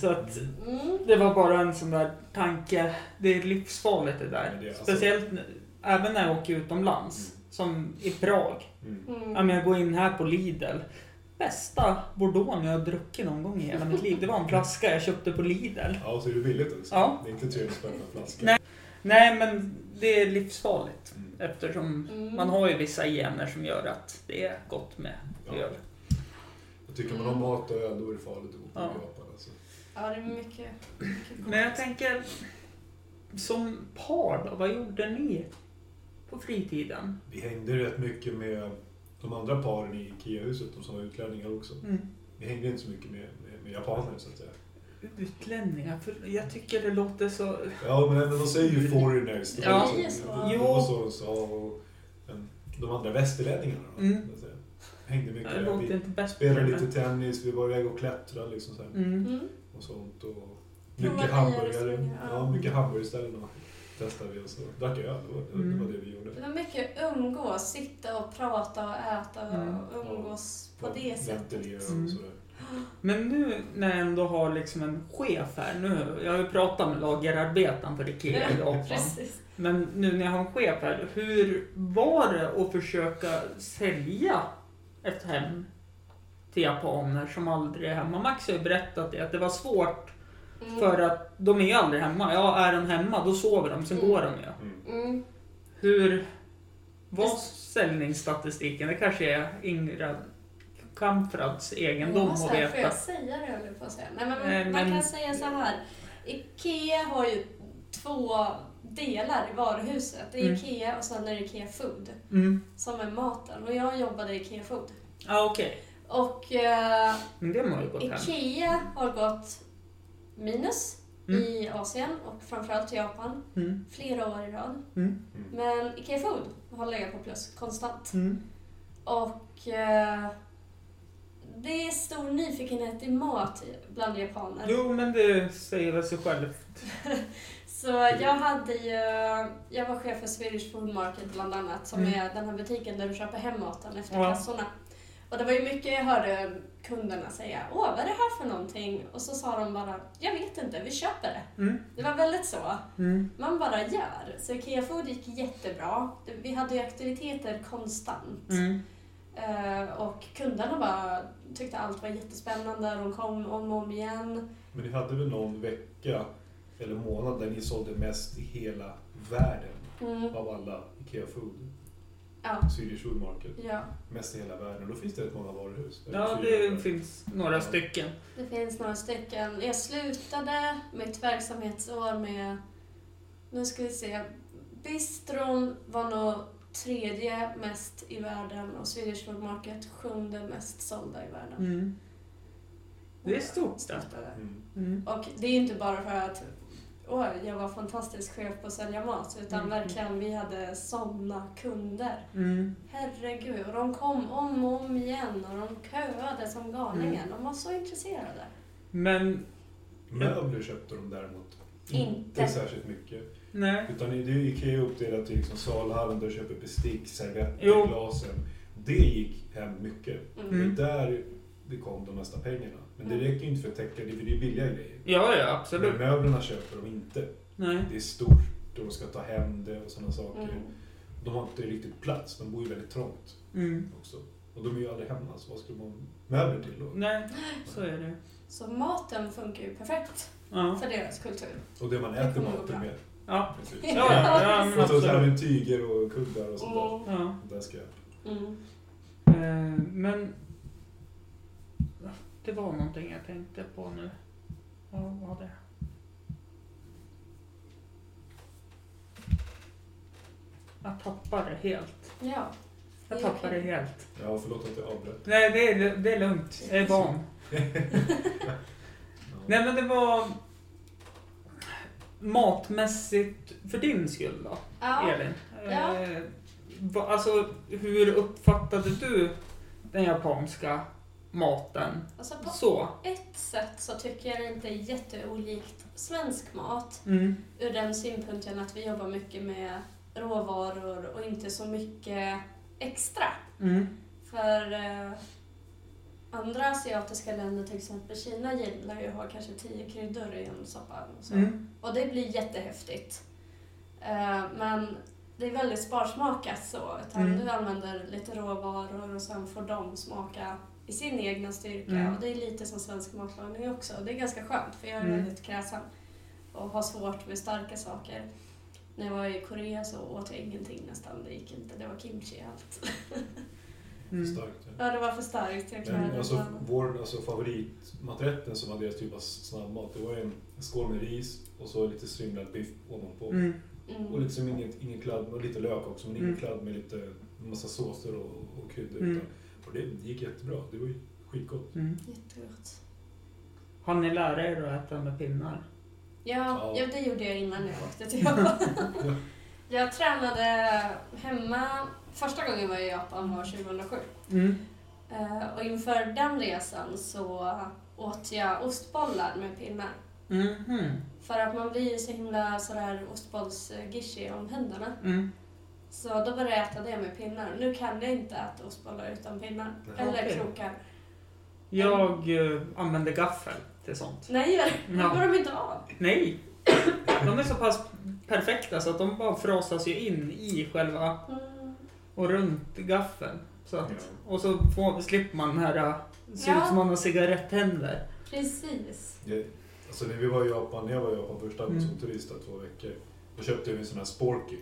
Så att Mm. det var bara en sån där tanke. Det är livsfarligt det där. Men det är alltså- Speciellt nu- även när jag åker utomlands. Som i Prag. Mm. Mm. Ja, men jag går in här på Lidl. Bästa Bordeaux jag har druckit någon gång i hela mitt liv. Det var en flaska jag köpte på Lidl. Ja, så är det billigt också. Ja. Det är inte 300 spänn per flaska. Nej. Nej, men det är livsfarligt. Mm. Eftersom Mm. man har ju vissa gener som gör att det är gott med Ja. öl. Och Tycker man om mat och öl då är det farligt att gå på Mm. Ja. Japan. Alltså. Ja, det är mycket. mycket Men jag tänker, som par då, vad gjorde ni på fritiden? Vi hängde rätt mycket med de andra paren i IKEA-huset, de som var utlänningar också. Mm. Vi hängde inte så mycket med, med, med japaner så att säga. Utlänningar, för jag tycker det låter så... Ja, men men de säger ju foreigners. De Mm. Ja. säger Yes, så. va? Det Jo. var så de sa. Och, men de andra västerlänningarna då, Mm. så att säga. Hängde mycket. Det låter Vi inte bäst. spelade lite tennis, vi var iväg och klättrade liksom så här, Mm. Mm. och sånt. Och Prova mycket nya hamburgare. restauranger, Ja, ja. mycket hamburgerställen och testade vi och så drack öl. Det var, det Mm. var det vi gjorde. Det var mycket umgås, sitta och prata och äta och umgås på det Ventilera sättet. Mm. och sådär. Men nu när jag ändå har liksom en chef här, nu, jag har ju pratat med lagerarbetaren för IKEA i Japan. Precis. Men nu när jag har en chef här, hur var det att försöka sälja ett hem till japaner som aldrig är hemma? Max har ju berättat det, att det var svårt Mm. för att de är ju aldrig hemma. Ja, är de hemma då sover de, sen Mm. går de ju. Mm. Mm. Hur var Det- säljningsstatistiken? Det kanske är Ingrid Kamprads egendom Ja, så att här, Får veta. jag säga det höll jag på att säga? Nej, men, Nej, man men- kan säga så här. IKEA har ju två delar i varuhuset. Det är Mm. IKEA och sen är det IKEA Food Mm. som är maten. Och jag jobbade i IKEA Food. Ja, okej. Och eh, Men det må ju gått hem. IKEA har gått minus Mm. i Asien och framförallt i Japan Mm. flera år i rad. Mm. Mm. Men IKEA Food har legat på plus konstant. Mm. Och eh, det är stor nyfikenhet i mat bland japaner. Jo, men det säger väl sig självt. Så jag hade ju, jag var chef för Swedish Food Market bland annat, som Mm. är den här butiken där du köper hem maten efter Ja. kassorna. Och det var ju mycket jag hörde kunderna säga, åh vad är det här för någonting? Och så sa de bara, jag vet inte, vi köper det. Mm. Det var väldigt så. Mm. Man bara gör. Så IKEA Food gick jättebra. Vi hade ju aktiviteter konstant. Mm. Eh, Och kunderna bara tyckte allt var jättespännande. De kom om och om igen. Men ni hade väl någon vecka eller månad där ni sålde mest i hela världen Mm. av alla IKEA Food, Ja. Swedish Food Market. ja, Mest i hela världen. Då finns det rätt många varuhus. Eller Ja, fyra det varuhus. finns några stycken. det finns några stycken. Jag slutade mitt verksamhetsår med, nu ska vi se, bistron var nog tredje mest i världen och Swedish Food Market sjunde mest sålda i världen. Mm. Det är stort. det. Slutade. Mm. Mm. Och det är inte bara för att åh, jag var fantastisk chef på att sälja mat, utan Mm. verkligen vi hade sådana kunder. Mm. Herregud, och de kom om och om igen och de köade som galningar. De var så intresserade. Men Möbler köpte de däremot Inte. särskilt mycket. nej. Utan det är ju IKEA uppdelat i liksom salhallen där du köper bestick, servetter, Jo. glasen. Det gick hem mycket. Mm. Mm. Det är där det kom de mesta pengarna. Men det Mm. räcker ju inte för att täcka det, för det är billiga grejer. Ja, ja, Men absolut. möblerna köper de inte. Nej. Det är stort och de ska ta hem det och sådana saker. Mm. De har inte riktigt plats, de bor ju väldigt trångt Mm. också. Och de är ju aldrig hemma, så vad skulle man möbler till då? Nej, så är det. Så maten funkar ju perfekt Ja, för deras kultur. Och det man Det äter kommer gå bra. maten med. ja. Precis. ja, ja, ja men Och så så här absolut. med tyger och kuddar och sånt där. Ja. Det där ska jag. Mm. Eh, Men det var någonting jag tänkte på nu. Vad var det? Jag tappade det helt. Ja. Jag Det är tappade det okej. helt. Ja, förlåt att jag avbröt. Nej, det är, det är lugnt. Jag är Alltså. van. Ja. Nej men det var matmässigt för din skull då, Ja. Elin. Ja. Eh, va- alltså, hur uppfattade du den japanska maten? Alltså på Så. ett sätt så tycker jag det inte är jätteolikt svensk mat. Mm. Ur den synpunkten att vi jobbar mycket med råvaror och inte så mycket extra. Mm. För eh, andra asiatiska länder, till exempel Kina, gillar ju att ha kanske tio kryddor i en soppa. Och, så. Mm. och det blir jättehäftigt. Eh, men det är väldigt sparsmakat så. Utan Mm. Du använder lite råvaror och sen får de smaka i sin egna styrka. Mm. Och det är lite som svensk matlagning också. Och det är ganska skönt för jag är Mm. väldigt kräsen och har svårt med starka saker. När jag var i Korea så åt jag ingenting nästan. Det gick inte. Det var kimchi i allt. Mm. Starkt. ja. Ja, det var för starkt. Jag klarade Men det alltså, inte. vår alltså, favoritmaträtten som var deras typ av snabbmat, det var ju en en skål med ris och så lite strimlad biff ovanpå. Mm. Mm. Och liksom inget, ingen kladd, och lite lök också, men ingen Mm. kladd med lite massa såser och, och kryddor. Mm. utan- Och det, det gick jättebra, det var ju skitgott. Mm. Jättegott. Har ni lära er att äta med pinnar? Ja, Ja. ja, det gjorde jag innan jag åkte till Japan. jag tränade hemma. Första gången var jag i Japan var 2007. Mm. Eh, Och inför den resan så åt jag ostbollar med pinnar. Mhm. För att man blir ju så himla sådär ostbollsgishig om händerna. Mm. Så då började jag äta det med pinnar. Nu kan jag inte äta ostbollar utan pinnar. Nej. Eller Okej. krokar. Jag eh, använder gaffel till sånt. Nej, det Ja. går de inte av. Nej! De är så pass perfekta så att de bara frasas ju in i själva Mm. och runt gaffeln. Så att, Ja. och så får, slipper man den här, det ser Ja. ut som man har cigarettänder. Precis. Det, alltså när vi var i Japan, när jag var i Japan första gången Mm. som turist där, två veckor, då köpte vi en sån här sporky.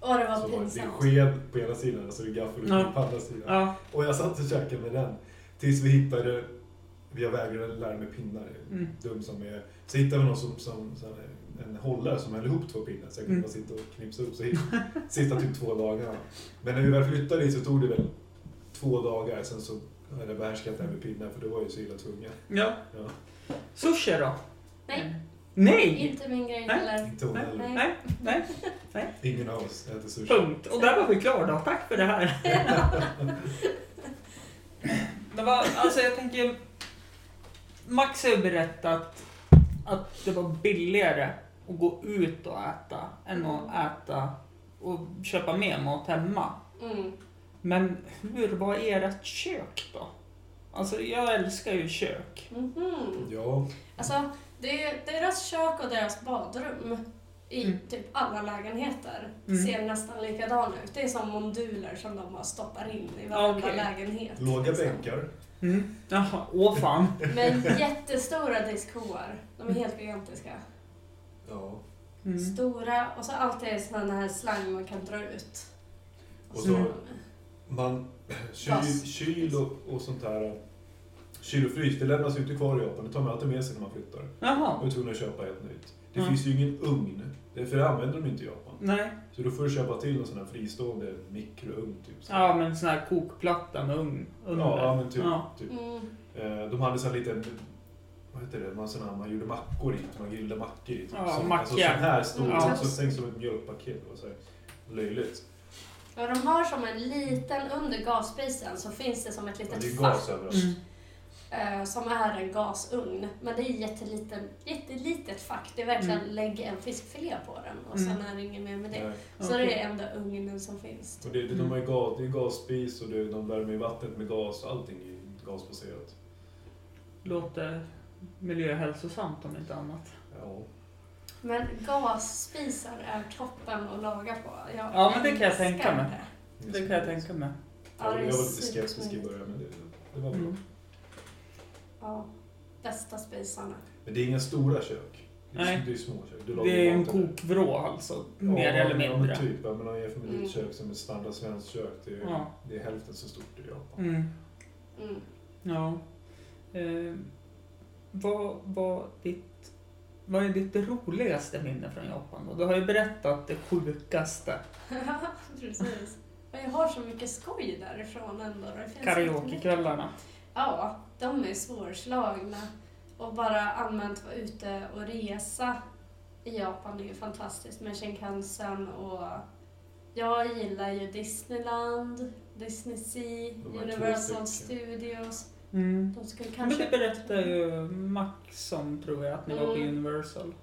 Och det var Så var det en pinsamt. sked på ena sidan och så är det gaffel Ja. på andra sidan. Ja. Och jag satt och käkade med den tills vi hittade, jag vägrade lära mig pinnar, Mm. dum som jag är. Så hittade vi någon som, som, som en hållare som höll ihop två pinnar så jag kunde Mm. bara sitta och knipsa upp så hit, sista typ två dagarna. Men när vi väl flyttade dit så tog det väl två dagar, sen så hade jag behärskat det här med pinnar för det var ju så illa tvungen. ja. Ja. Sushi då? Nej, Nej! inte min grej Nej. heller. Inte hon heller. Nej. Nej, nej, Ingen av oss äter sushi. punkt. Och där var vi klara då. Tack för det här. Det var, alltså jag tänker, Max har ju berättat att det var billigare att gå ut och äta än att äta och köpa med mat hemma. Mm. Men hur var ert kök då? Alltså jag älskar ju kök. Mm. Mhm. Ja, Alltså, det är deras kök och deras badrum i Mm. typ alla lägenheter Mm. ser nästan likadana ut. Det är som monduler som de bara stoppar in i varenda Okej. lägenhet. låga liksom. bänkar. Mm. Jaha, åh fan. Men jättestora diskhoar. De är helt gigantiska. Ja. Mm. Stora och så alltid sådana här slang man kan dra ut. Och så- Mm. Man, kyl, Fast. kyl och, och sånt här, kyl och frys, det lämnas ju inte kvar i Japan, det tar man alltid med sig när man flyttar. Man Jaha, är tvungen att köpa helt nytt. Det Mm. finns ju ingen ugn, det- för det använder de inte i Japan. nej. Så då får du köpa till en sån här fristående mikrougn. Typ. så. Ja men sån här kokplatta med ugn under. ja, ja, men typ. Ja. typ. Mm. Eh, De hade sån här liten, vad heter det, man, sån här, man gjorde mackor i, man grillade mackor i. Typ. Ja, Som- alltså, sån mackor. här stor, Ja. så tänk som ett mjölkpaket. Det var så här löjligt. Och de har som en liten, under gasspisen så finns det som ett Men litet det är fack. gas överallt. Mm. eh, som är en gasugn. Men det är jätteliten, jättelitet fack. Det är verkligen Mm. lägg en fiskfilé på den och Mm. sen är det inget mer med det. Nej. Så det Okej. är enda ugnen som finns. Och det, det, Mm. de har ju gas, det är gasspis och det, de värmer ju vattnet med gas. Allting är ju gasbaserat. Låter miljöhälsosamt om inte annat. Ja. Men gasspisar är toppen att laga på. Jag Ja, men det kan jag älskar tänka mig. det. Det kan jag tänka mig. Ja, Ja, det är jag var lite supermysigt. skeptisk i början, men det, det var bra. Mm. Ja, bästa spisarna. Men det är inga stora kök. Det är, Nej. det är små kök. Du lagar Det är ju en maten. kokvrå alltså, Ja, mer eller men- Ja, men mindre. typ. Jag menar, jämför med Mm. ditt kök som ett standard svenskt kök. Det är, Ja. det är hälften så stort i Japan. Mm. Mm. Ja. Eh, vad, var ditt, vad är ditt roligaste minne från Japan? Då? Du har ju berättat det sjukaste. Precis. Men jag har så mycket skoj därifrån ändå. Det finns jättemycket. Karaokekvällarna. Ja, de är svårslagna. Och bara allmänt vara ute och resa i Japan är ju fantastiskt med Shinkansen och Jag gillar ju Disneyland, Disney Sea, De här två Universal stycken. Studios. Mm. De skulle Men kanske... det berättade ju Max om, tror jag, att ni var på Mm. Universal.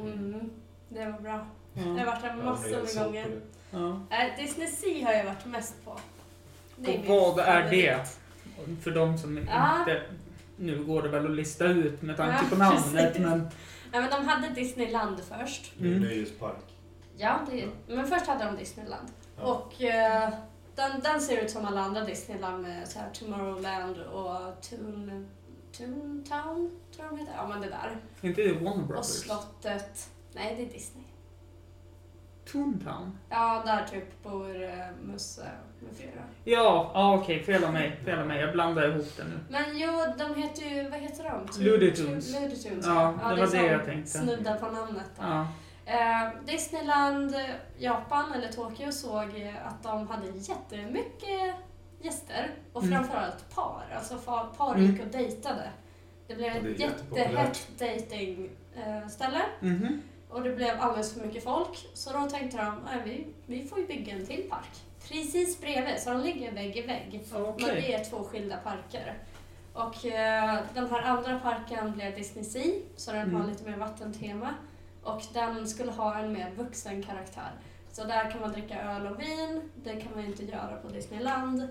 Mm, det var bra. Jag har Ja. varit där massor med gånger. Ja. Nej, Disney Sea har jag varit mest på. är Och min vad är favorit. det? För de som Ja. inte... Nu går det väl att lista ut med tanke Ja, på namnet, precis. men... Nej, men de hade Disneyland först. Det är en Mm. nöjespark. Ja, det, men först hade de Disneyland. Ja. Och eh, den, den ser ut som alla andra Disneyland med så här Tomorrowland och Toon, Toontown, tror jag de heter. Ja, men det där. Inte det Warner Och Brothers? slottet. Nej, det är Disney. Toontown? Ja, där typ bor eh, Musse med flera. Ja, ah, okej. fel av mig. Fel av mig. Jag blandar ihop det nu. Men jo, de heter ju, vad heter de? Looney Tunes. Looney Tunes, Ja, det var som det jag tänkte. Snuddar på namnet där. Ja. Eh, Disneyland Japan, eller Tokyo, såg eh, att de hade jättemycket gäster. Och Mm. framförallt par. Alltså fa- par Mm. gick och dejtade. Det blev Ja, det är ett jättepopulärt. jättehett dejtingställe. Mhm. Och det blev alldeles för mycket folk. Så då tänkte de, "Nej, vi, vi får ju bygga en till park. Precis bredvid, så de ligger vägg i vägg. Ah, Okej. Men det är två skilda parker. Och eh, den här andra parken blev Disney Sea, så den har Mm. lite mer vattentema. Och den skulle ha en mer vuxen karaktär. Så där kan man dricka öl och vin, det kan man ju inte göra på Disneyland.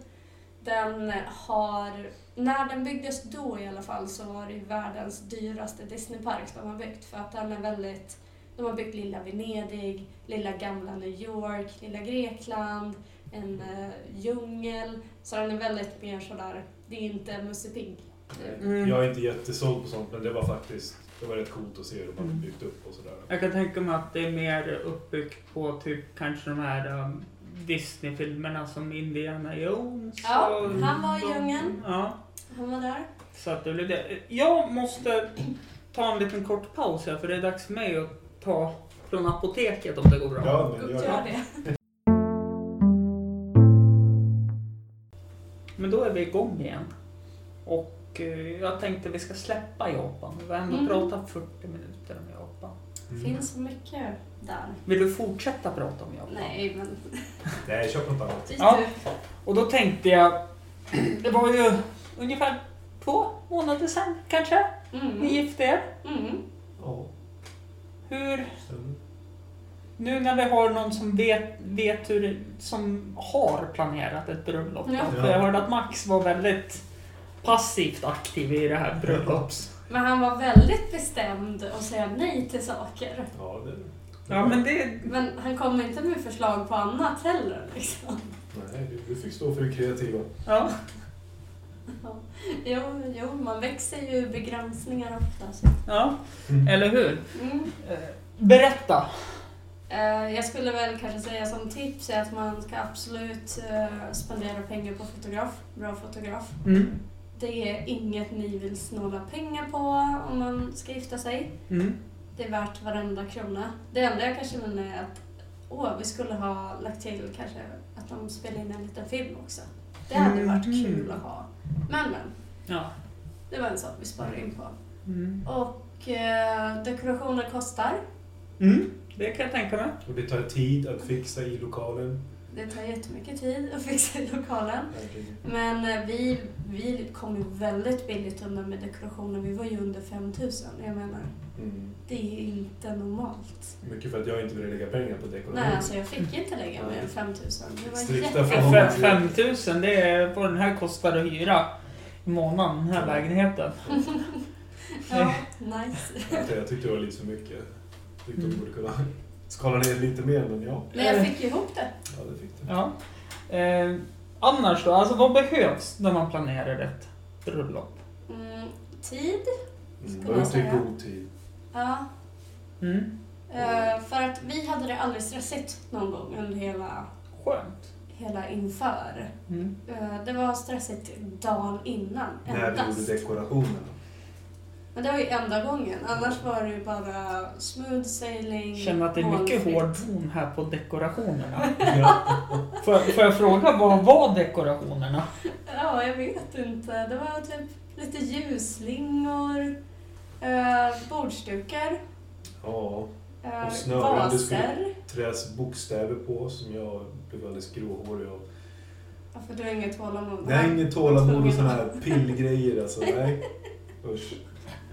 Den har, när den byggdes då i alla fall så var det ju världens dyraste Disneypark de har byggt för att den är väldigt, de har byggt lilla Venedig, lilla gamla New York, lilla Grekland, en eh, djungel. Så den är väldigt mer sådär, det är inte Musse Pigg. Mm. Jag är inte jättesåld på sånt, men det var faktiskt det var rätt coolt att se hur de hade Mm. byggt upp och sådär. Jag kan tänka mig att det är mer uppbyggt på typ kanske de här um, Disney-filmerna som Indiana Jones Ja, och- han var i djungeln. Ja. Han var där. Så att det blir det. Jag måste ta en liten kort paus här för det är dags för mig att ta från apoteket om det går bra. Ja, men gör Gör det. det. Men då är vi igång igen. Och eh, jag tänkte vi ska släppa Japan. Vi har ändå Mm. pratat 40 minuter om Japan. Mm. finns så mycket där. Vill du fortsätta prata om Japan? Nej, men Nej, köp något annat. dit Ja. du. Och då tänkte jag, det var ju ungefär två månader sedan kanske ni Mm. gifte er. Mm. Ja, Hur stämmer. Nu när vi har någon som vet, vet hur det- som har planerat ett bröllop. Ja. För jag hörde att Max var väldigt passivt aktiv i det här bröllops. Men han var väldigt bestämd att säga nej till saker. Ja, det... Ja, men det... Men han kom inte med förslag på annat heller. Liksom. Nej, du, du fick stå för det kreativa. Ja. Jo, jo, man växer ju ur begränsningar oftast. ja. Mm. Eller hur? Mm. Eh, Berätta! Eh, Jag skulle väl kanske säga som tips är att man ska absolut eh, spendera pengar på fotograf, bra fotograf. Mm. Det är inget ni vill snåla pengar på om man ska gifta sig. Mm. Det är värt varenda krona. Det enda jag kanske menar är att åh, vi skulle ha lagt till kanske att de spelar in en liten film också. Det hade varit Mhm. kul att ha. Men men, Ja. det var en sak vi sparade in på. Mm. Och eh, dekorationer kostar. Mm. Det kan jag tänka mig. Och det tar tid att fixa i lokalen. Det tar jättemycket tid att fixa i lokalen. Verkligen. Men eh, vi, vi kom ju väldigt billigt undan med dekorationer. Vi var ju under 5000. Jag menar, Mm. det är ju inte normalt. Mycket för att jag inte ville lägga pengar på dekoration. Nej, alltså jag fick inte lägga mer än 5000. Det var Mm. Strikta jätte- förhållanden. Fem- 5000 det är vad den här kostar att hyra i månaden, den här lägenheten. Ja, nice. Jag tyckte- Jag tyckte det var lite för mycket. Jag tyckte Mm. de borde kunna skala ner lite mer, men ja. Men jag fick ju ihop det. Ja, det fick det. Ja. Eh, annars då? Alltså vad behövs när man planerar ett bröllop? Mm, tid. Mm. Skulle Var man ute i säga. god tid. Ja. Mm. Eh, för att vi hade det aldrig stressigt någon gång under hela, Skönt. hela inför. Mm. Eh, det var stressigt dagen innan När vi endast. gjorde dekorationerna. Men det var ju enda gången. Annars var det ju bara smooth sailing. Känner att det är mycket målfritt. hård ton här på dekorationerna. Ja. Får jag, får jag fråga, vad var dekorationerna? Ja, jag vet inte. Det var typ lite ljusslingor, eh, bordsdukar, ja. eh, Och snören, det skulle- vaser. Träs bokstäver på som jag blev alldeles gråhårig av. Ja, för du har inget tålamod. Det är inget tålamod och sådana här pillgrejer alltså. Nej. Usch.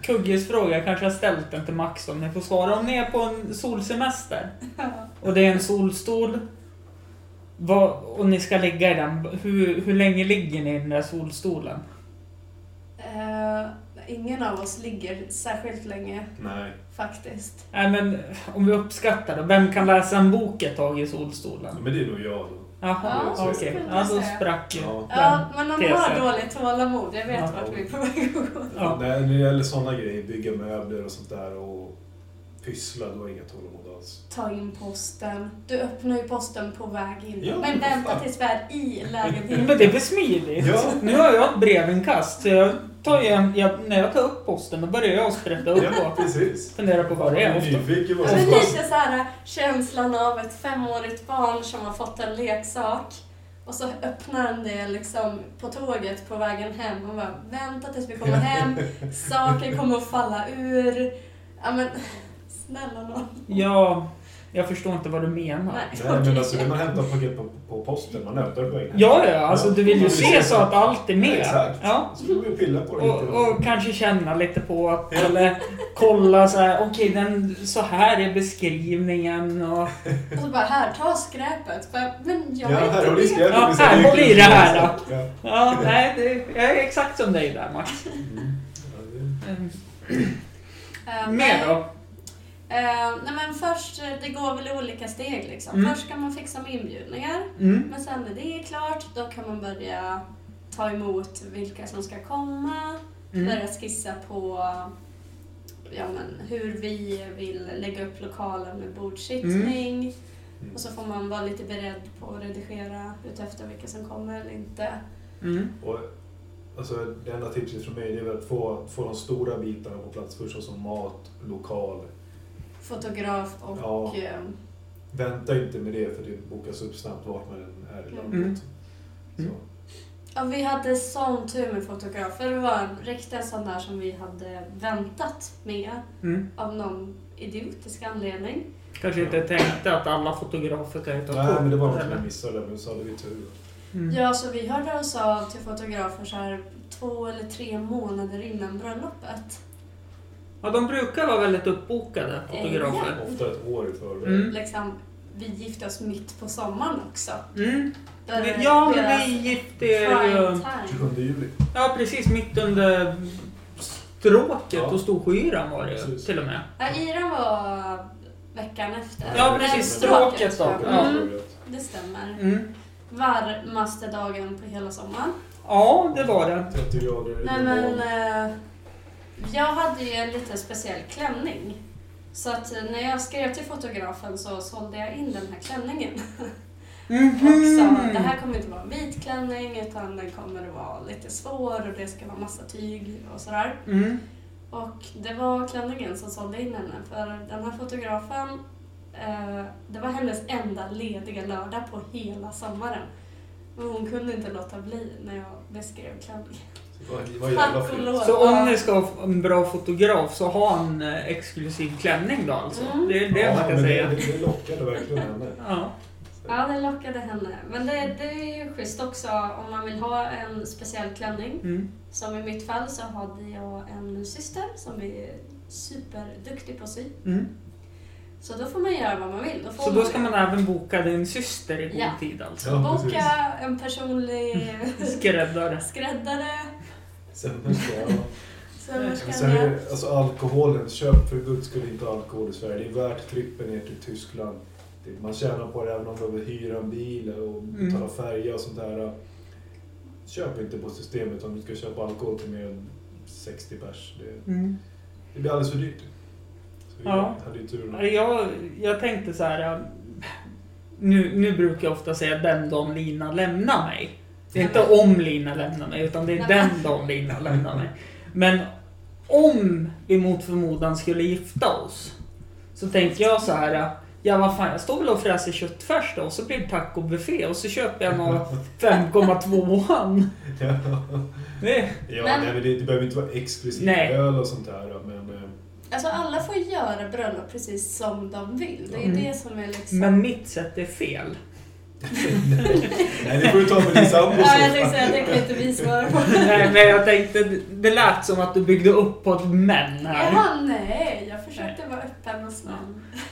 Kugges fråga, jag kanske har ställt den till Max om ni får svara. Om ni är på en solsemester och det är en solstol vad, och ni ska ligga i den, hur, hur länge ligger ni i den där solstolen? Eh, ingen av oss ligger särskilt länge Nej. faktiskt. Nej men om vi uppskattar då, vem kan läsa en bok ett tag i solstolen? Men det är nog jag då. Jaha, Ja, så okej. skulle jag Ja, då säga. sprack ju. Ja. Ja, men de har tesen. dåligt tålamod. Jag vet Ja. vart vi är på väg att gå. Ja. Nej, när det gäller sådana grejer, bygga möbler och sånt där och pyssla, då har jag inga tålamod alls. Ta in posten. Du öppnar ju posten på väg in. Ja, men för vänta fan. tills vi är i Men det är lägenheten. väl smidigt? Ja. Nu har jag ett brevinkast, så jag tar ju en, jag, när jag tar upp posten då börjar jag sprätta upp Ja, och precis. fundera på vad det Jag är. är Ofta. nyfiken på Men Alltså, sånt. lite så här äh, känslan av ett femårigt barn som har fått en leksak. Och så öppnar han det liksom på tåget på vägen hem och bara vänta tills vi kommer hem. Saker kommer att falla ur. Ja men snälla nån. Ja, jag förstår inte vad du menar. Nej, Nej, men okej. alltså när man hämtar paket på, på posten, man öppnar på vägen hem. Ja, ja, alltså du vill ju Ja, se precis. så att allt är med. Exakt. Ja. Så får vi pilla på det Och, lite. och kanske känna lite på att, eller kolla så här, okej den, så här är beskrivningen och... Och så bara här, ta skräpet. Bara, men Ja, jag är här inte har du det. skräpet. Ja, Det är så här, mycket håll i det här som- Ja. Ja, nej, det, jag är exakt som dig där Max. Mm. Ja, det- Mm. Eh, Mer då? Eh, nej men först, eh, det går väl i olika steg liksom. Mm. Först ska man fixa med inbjudningar. Mm. Men sen när det är klart, då kan man börja ta emot vilka som ska komma. Mm. Börja skissa på ja, men, hur vi vill lägga upp lokalen med bordsittning. Mm. Och så får man vara lite beredd på att redigera utefter vilka som kommer eller inte. Mm. Och, alltså, det enda tipset från mig det är väl att få, få de stora bitarna på plats först, såsom mat, lokal. Fotograf och... Ja. eh, Vänta inte med det för det bokas upp snabbt vart man än är i landet. Mm. Så. Mm. Ja, vi hade sån tur med fotografer. Det var en riktig sån där som vi hade väntat med Mm. av någon idiotisk anledning. Kanske inte tänkte att alla fotografer kan ju ta Nej, kort, men det var något eller? jag missade, men så hade vi tur. Mm. Ja, så vi hörde oss av till fotografer så här två eller tre månader innan bröllopet. Ja, de brukar vara väldigt uppbokade, fotografer. Ofta ett år i förväg. Mm. Liksom, vi gifte oss mitt på sommaren också. Mm. Där Ja, men deras vi gifte prime ju... time. 27 juli. Ja, precis. Mitt under stråket Ja. och Storsjöyran var det ju, Precis. till och med. Ja, Iran var veckan efter. Ja, Men precis. Stråket då. Ja, Ja. det stämmer. Mm. Varmaste dagen på hela sommaren. Ja, det var det. 30 grader i Nej men, normal. eh, jag hade ju en lite speciell klänning. Så att eh, när jag skrev till fotografen så sålde jag in den här klänningen. Och Mm. sa Mhm. det här kommer inte vara en vit klänning utan den kommer att vara lite svår och det ska vara massa tyg och sådär. Mm. Och det var klänningen som sålde in henne för den här fotografen, eh, det var hennes enda lediga lördag på hela sommaren. Men hon kunde inte låta bli när jag beskrev klänningen. Så vad- vad jävla Tack och fint. lov. Så om ni ska ha en bra fotograf så ha en eh, exklusiv klänning då alltså. Mm. Det är det man kan men säga. Det, det lockade verkligen henne. Ja. Ja, det lockade henne. Men det, det är ju schysst också om man vill ha en speciell klänning. Mm. Som i mitt fall så hade jag en syster som är superduktig på att sy. Mm. Så då får man göra vad man vill. Då får Så då man ska man även boka din syster i god Ja. tid alltså. Ja, precis. boka en personlig Skräddare. skräddare. Sen, ja. sömmerska. Sen är det, alltså alkoholen, köp för guds skull inte alkohol i Sverige. Det är värt trippen ner till Tyskland. Det- Man tjänar på det även om man behöver hyra en bil och Mm. betala färja och sånt där. Köp inte på systemet om du ska köpa alkohol till mer än 60 pers. Det, Mm. det blir alldeles för dyrt. Så vi Ja. hade ju turen. att- Jag, jag tänkte så här. eh, Nu, nu brukar jag ofta säga den dagen Lina lämnar mig. Det är inte om Lina lämnar mig, utan det är den dagen Lina lämnar mig. Men om vi mot förmodan skulle gifta oss så tänker jag så här. äh, Ja, vad fan, jag står väl och fräser köttfärs då och så blir det tacobuffé och så köper jag någon 5,2an. Ja, Det- ja Men- nej, men det, det behöver inte vara exklusiv Nej. öl och sånt där. Men eh, Alltså alla får göra bröllop precis som de vill. Det är Mm. det som är liksom... Men mitt sätt är fel. Nej, det får du ta med din sambo Ja, jag tänkte säga, det kan inte vi svara på. Nej, men jag tänkte, det lät som att du byggde upp på ett men här. Jaha, nej. Jag försökte vara öppen och snäll.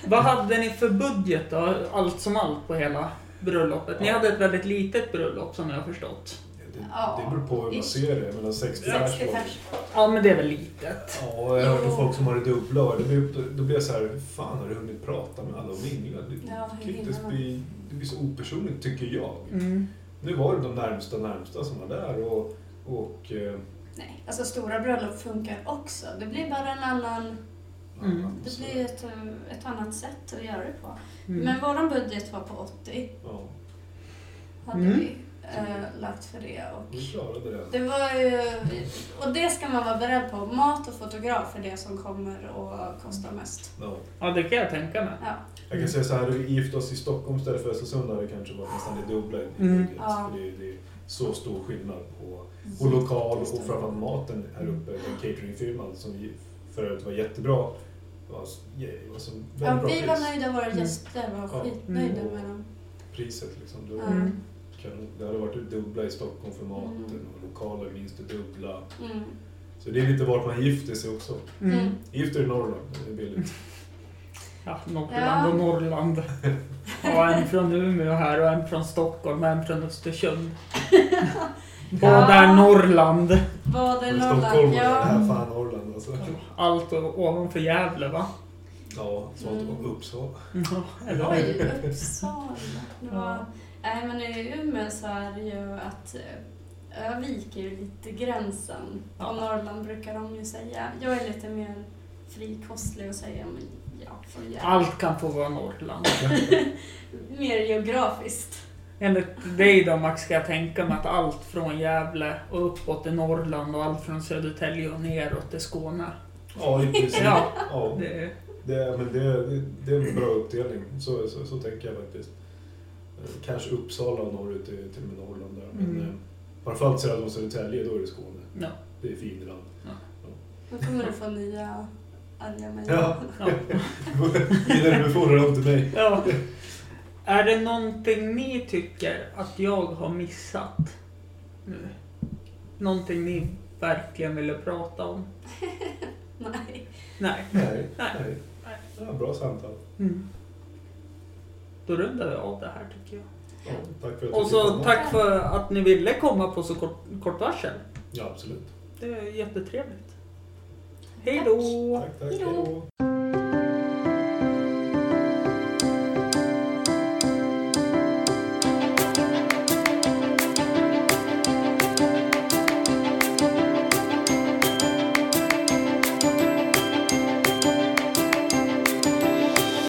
Vad hade ni för budget då, allt som allt på hela bröllopet? Ni hade ett väldigt litet bröllop som jag har förstått. Det, Ja. det beror på hur man ser det. Men 60 pers 60 var- pers. Ja, men det är väl litet. Ja, jag hörde folk som har det dubbla och det blir, då blir jag så här, fan har du hunnit prata med alla och mingla? Det, Ja, hur kan inte hinner man? bli, det blir så opersonligt tycker jag. Mm. Nu var det de närmsta närmsta som var där och, och eh, Nej, alltså stora bröllop funkar också. Det blir bara en annan... Mm. annat Det så- blir ett, eh, ett annat sätt att göra det på. Mm. Men våran budget var på 80. Ja, Hade Mm. vi eh, lagt för det. Och vi klarade det. det var ju... Och det ska man vara beredd på. Mat och fotograf är det som kommer att kosta mest. Ja. Ja, det kan jag tänka mig. Ja. Jag kan säga så här, hade vi gift oss i Stockholm istället för Östersund hade det kanske varit nästan det dubbla i Mm. budget. Ja. För det, det är så stor skillnad på, på lokal och framförallt maten här uppe. Den cateringfirman som ju för övrigt var jättebra. Det var, s- ja, alltså, väldigt Ja, bra vi pris. var nöjda, våra Mm. gäster var Ja. skitnöjda Mm. med dem. Priset liksom. Det, var, Ja. Mm. kanon. det hade varit det dubbla i Stockholm för maten Mm. och lokaler minst det dubbla. Mm. Så det är lite vart man gifter sig också. Mm. Mm. Gift er i Norrland, det är billigt. Ja, Norrland och Ja. Norrland. Ja, en från Umeå här och en från Stockholm och en från Östersund. Vad är Ja. Norrland? Vad är Men Norrland? Stockholm, det Ja. här fan Norrland alltså. Allt ovanför Gävle va? Ja, så att Mm. Uppsala. Eller hur? Oj, Uppsala. Det var... Nej, men i Umeå så är det ju att eh, Ö-vik är ju lite gränsen. Ja. Och Norrland brukar de ju säga. Jag är lite mer frikostlig och säger men ja, för jävla. Allt kan få vara Norrland. Mer geografiskt. Enligt dig då Max ska jag tänka mig att allt från Gävle och uppåt är Norrland och allt från Södertälje och neråt är Skåne. Ja, i princip. Ja, Ja. det är... Det, men det, det, det är en bra uppdelning, så, så, så tänker jag faktiskt. Eh, Kanske Uppsala och norrut är till och med Norrland där. Men Mm. mm. framförallt söder om Södertälje, då är det Skåne. Ja. Det är finland. Nu kommer du få nya arga Mm. mejl. Ja. Ja. Innan du befordrar dem till mig. Ja. Är det någonting ni tycker att jag har missat nu? Någonting ni verkligen ville prata om? Nej. Nej. Nej, Nej. nej. Ja, bra samtal. Mm. Då rundar vi av det här tycker jag. Ja, tack för att Och du så kom. tack för att ni ville komma på så kort, kort varsel. Ja, absolut. Det är jättetrevligt. Hej då! Tack, tack. Hej då.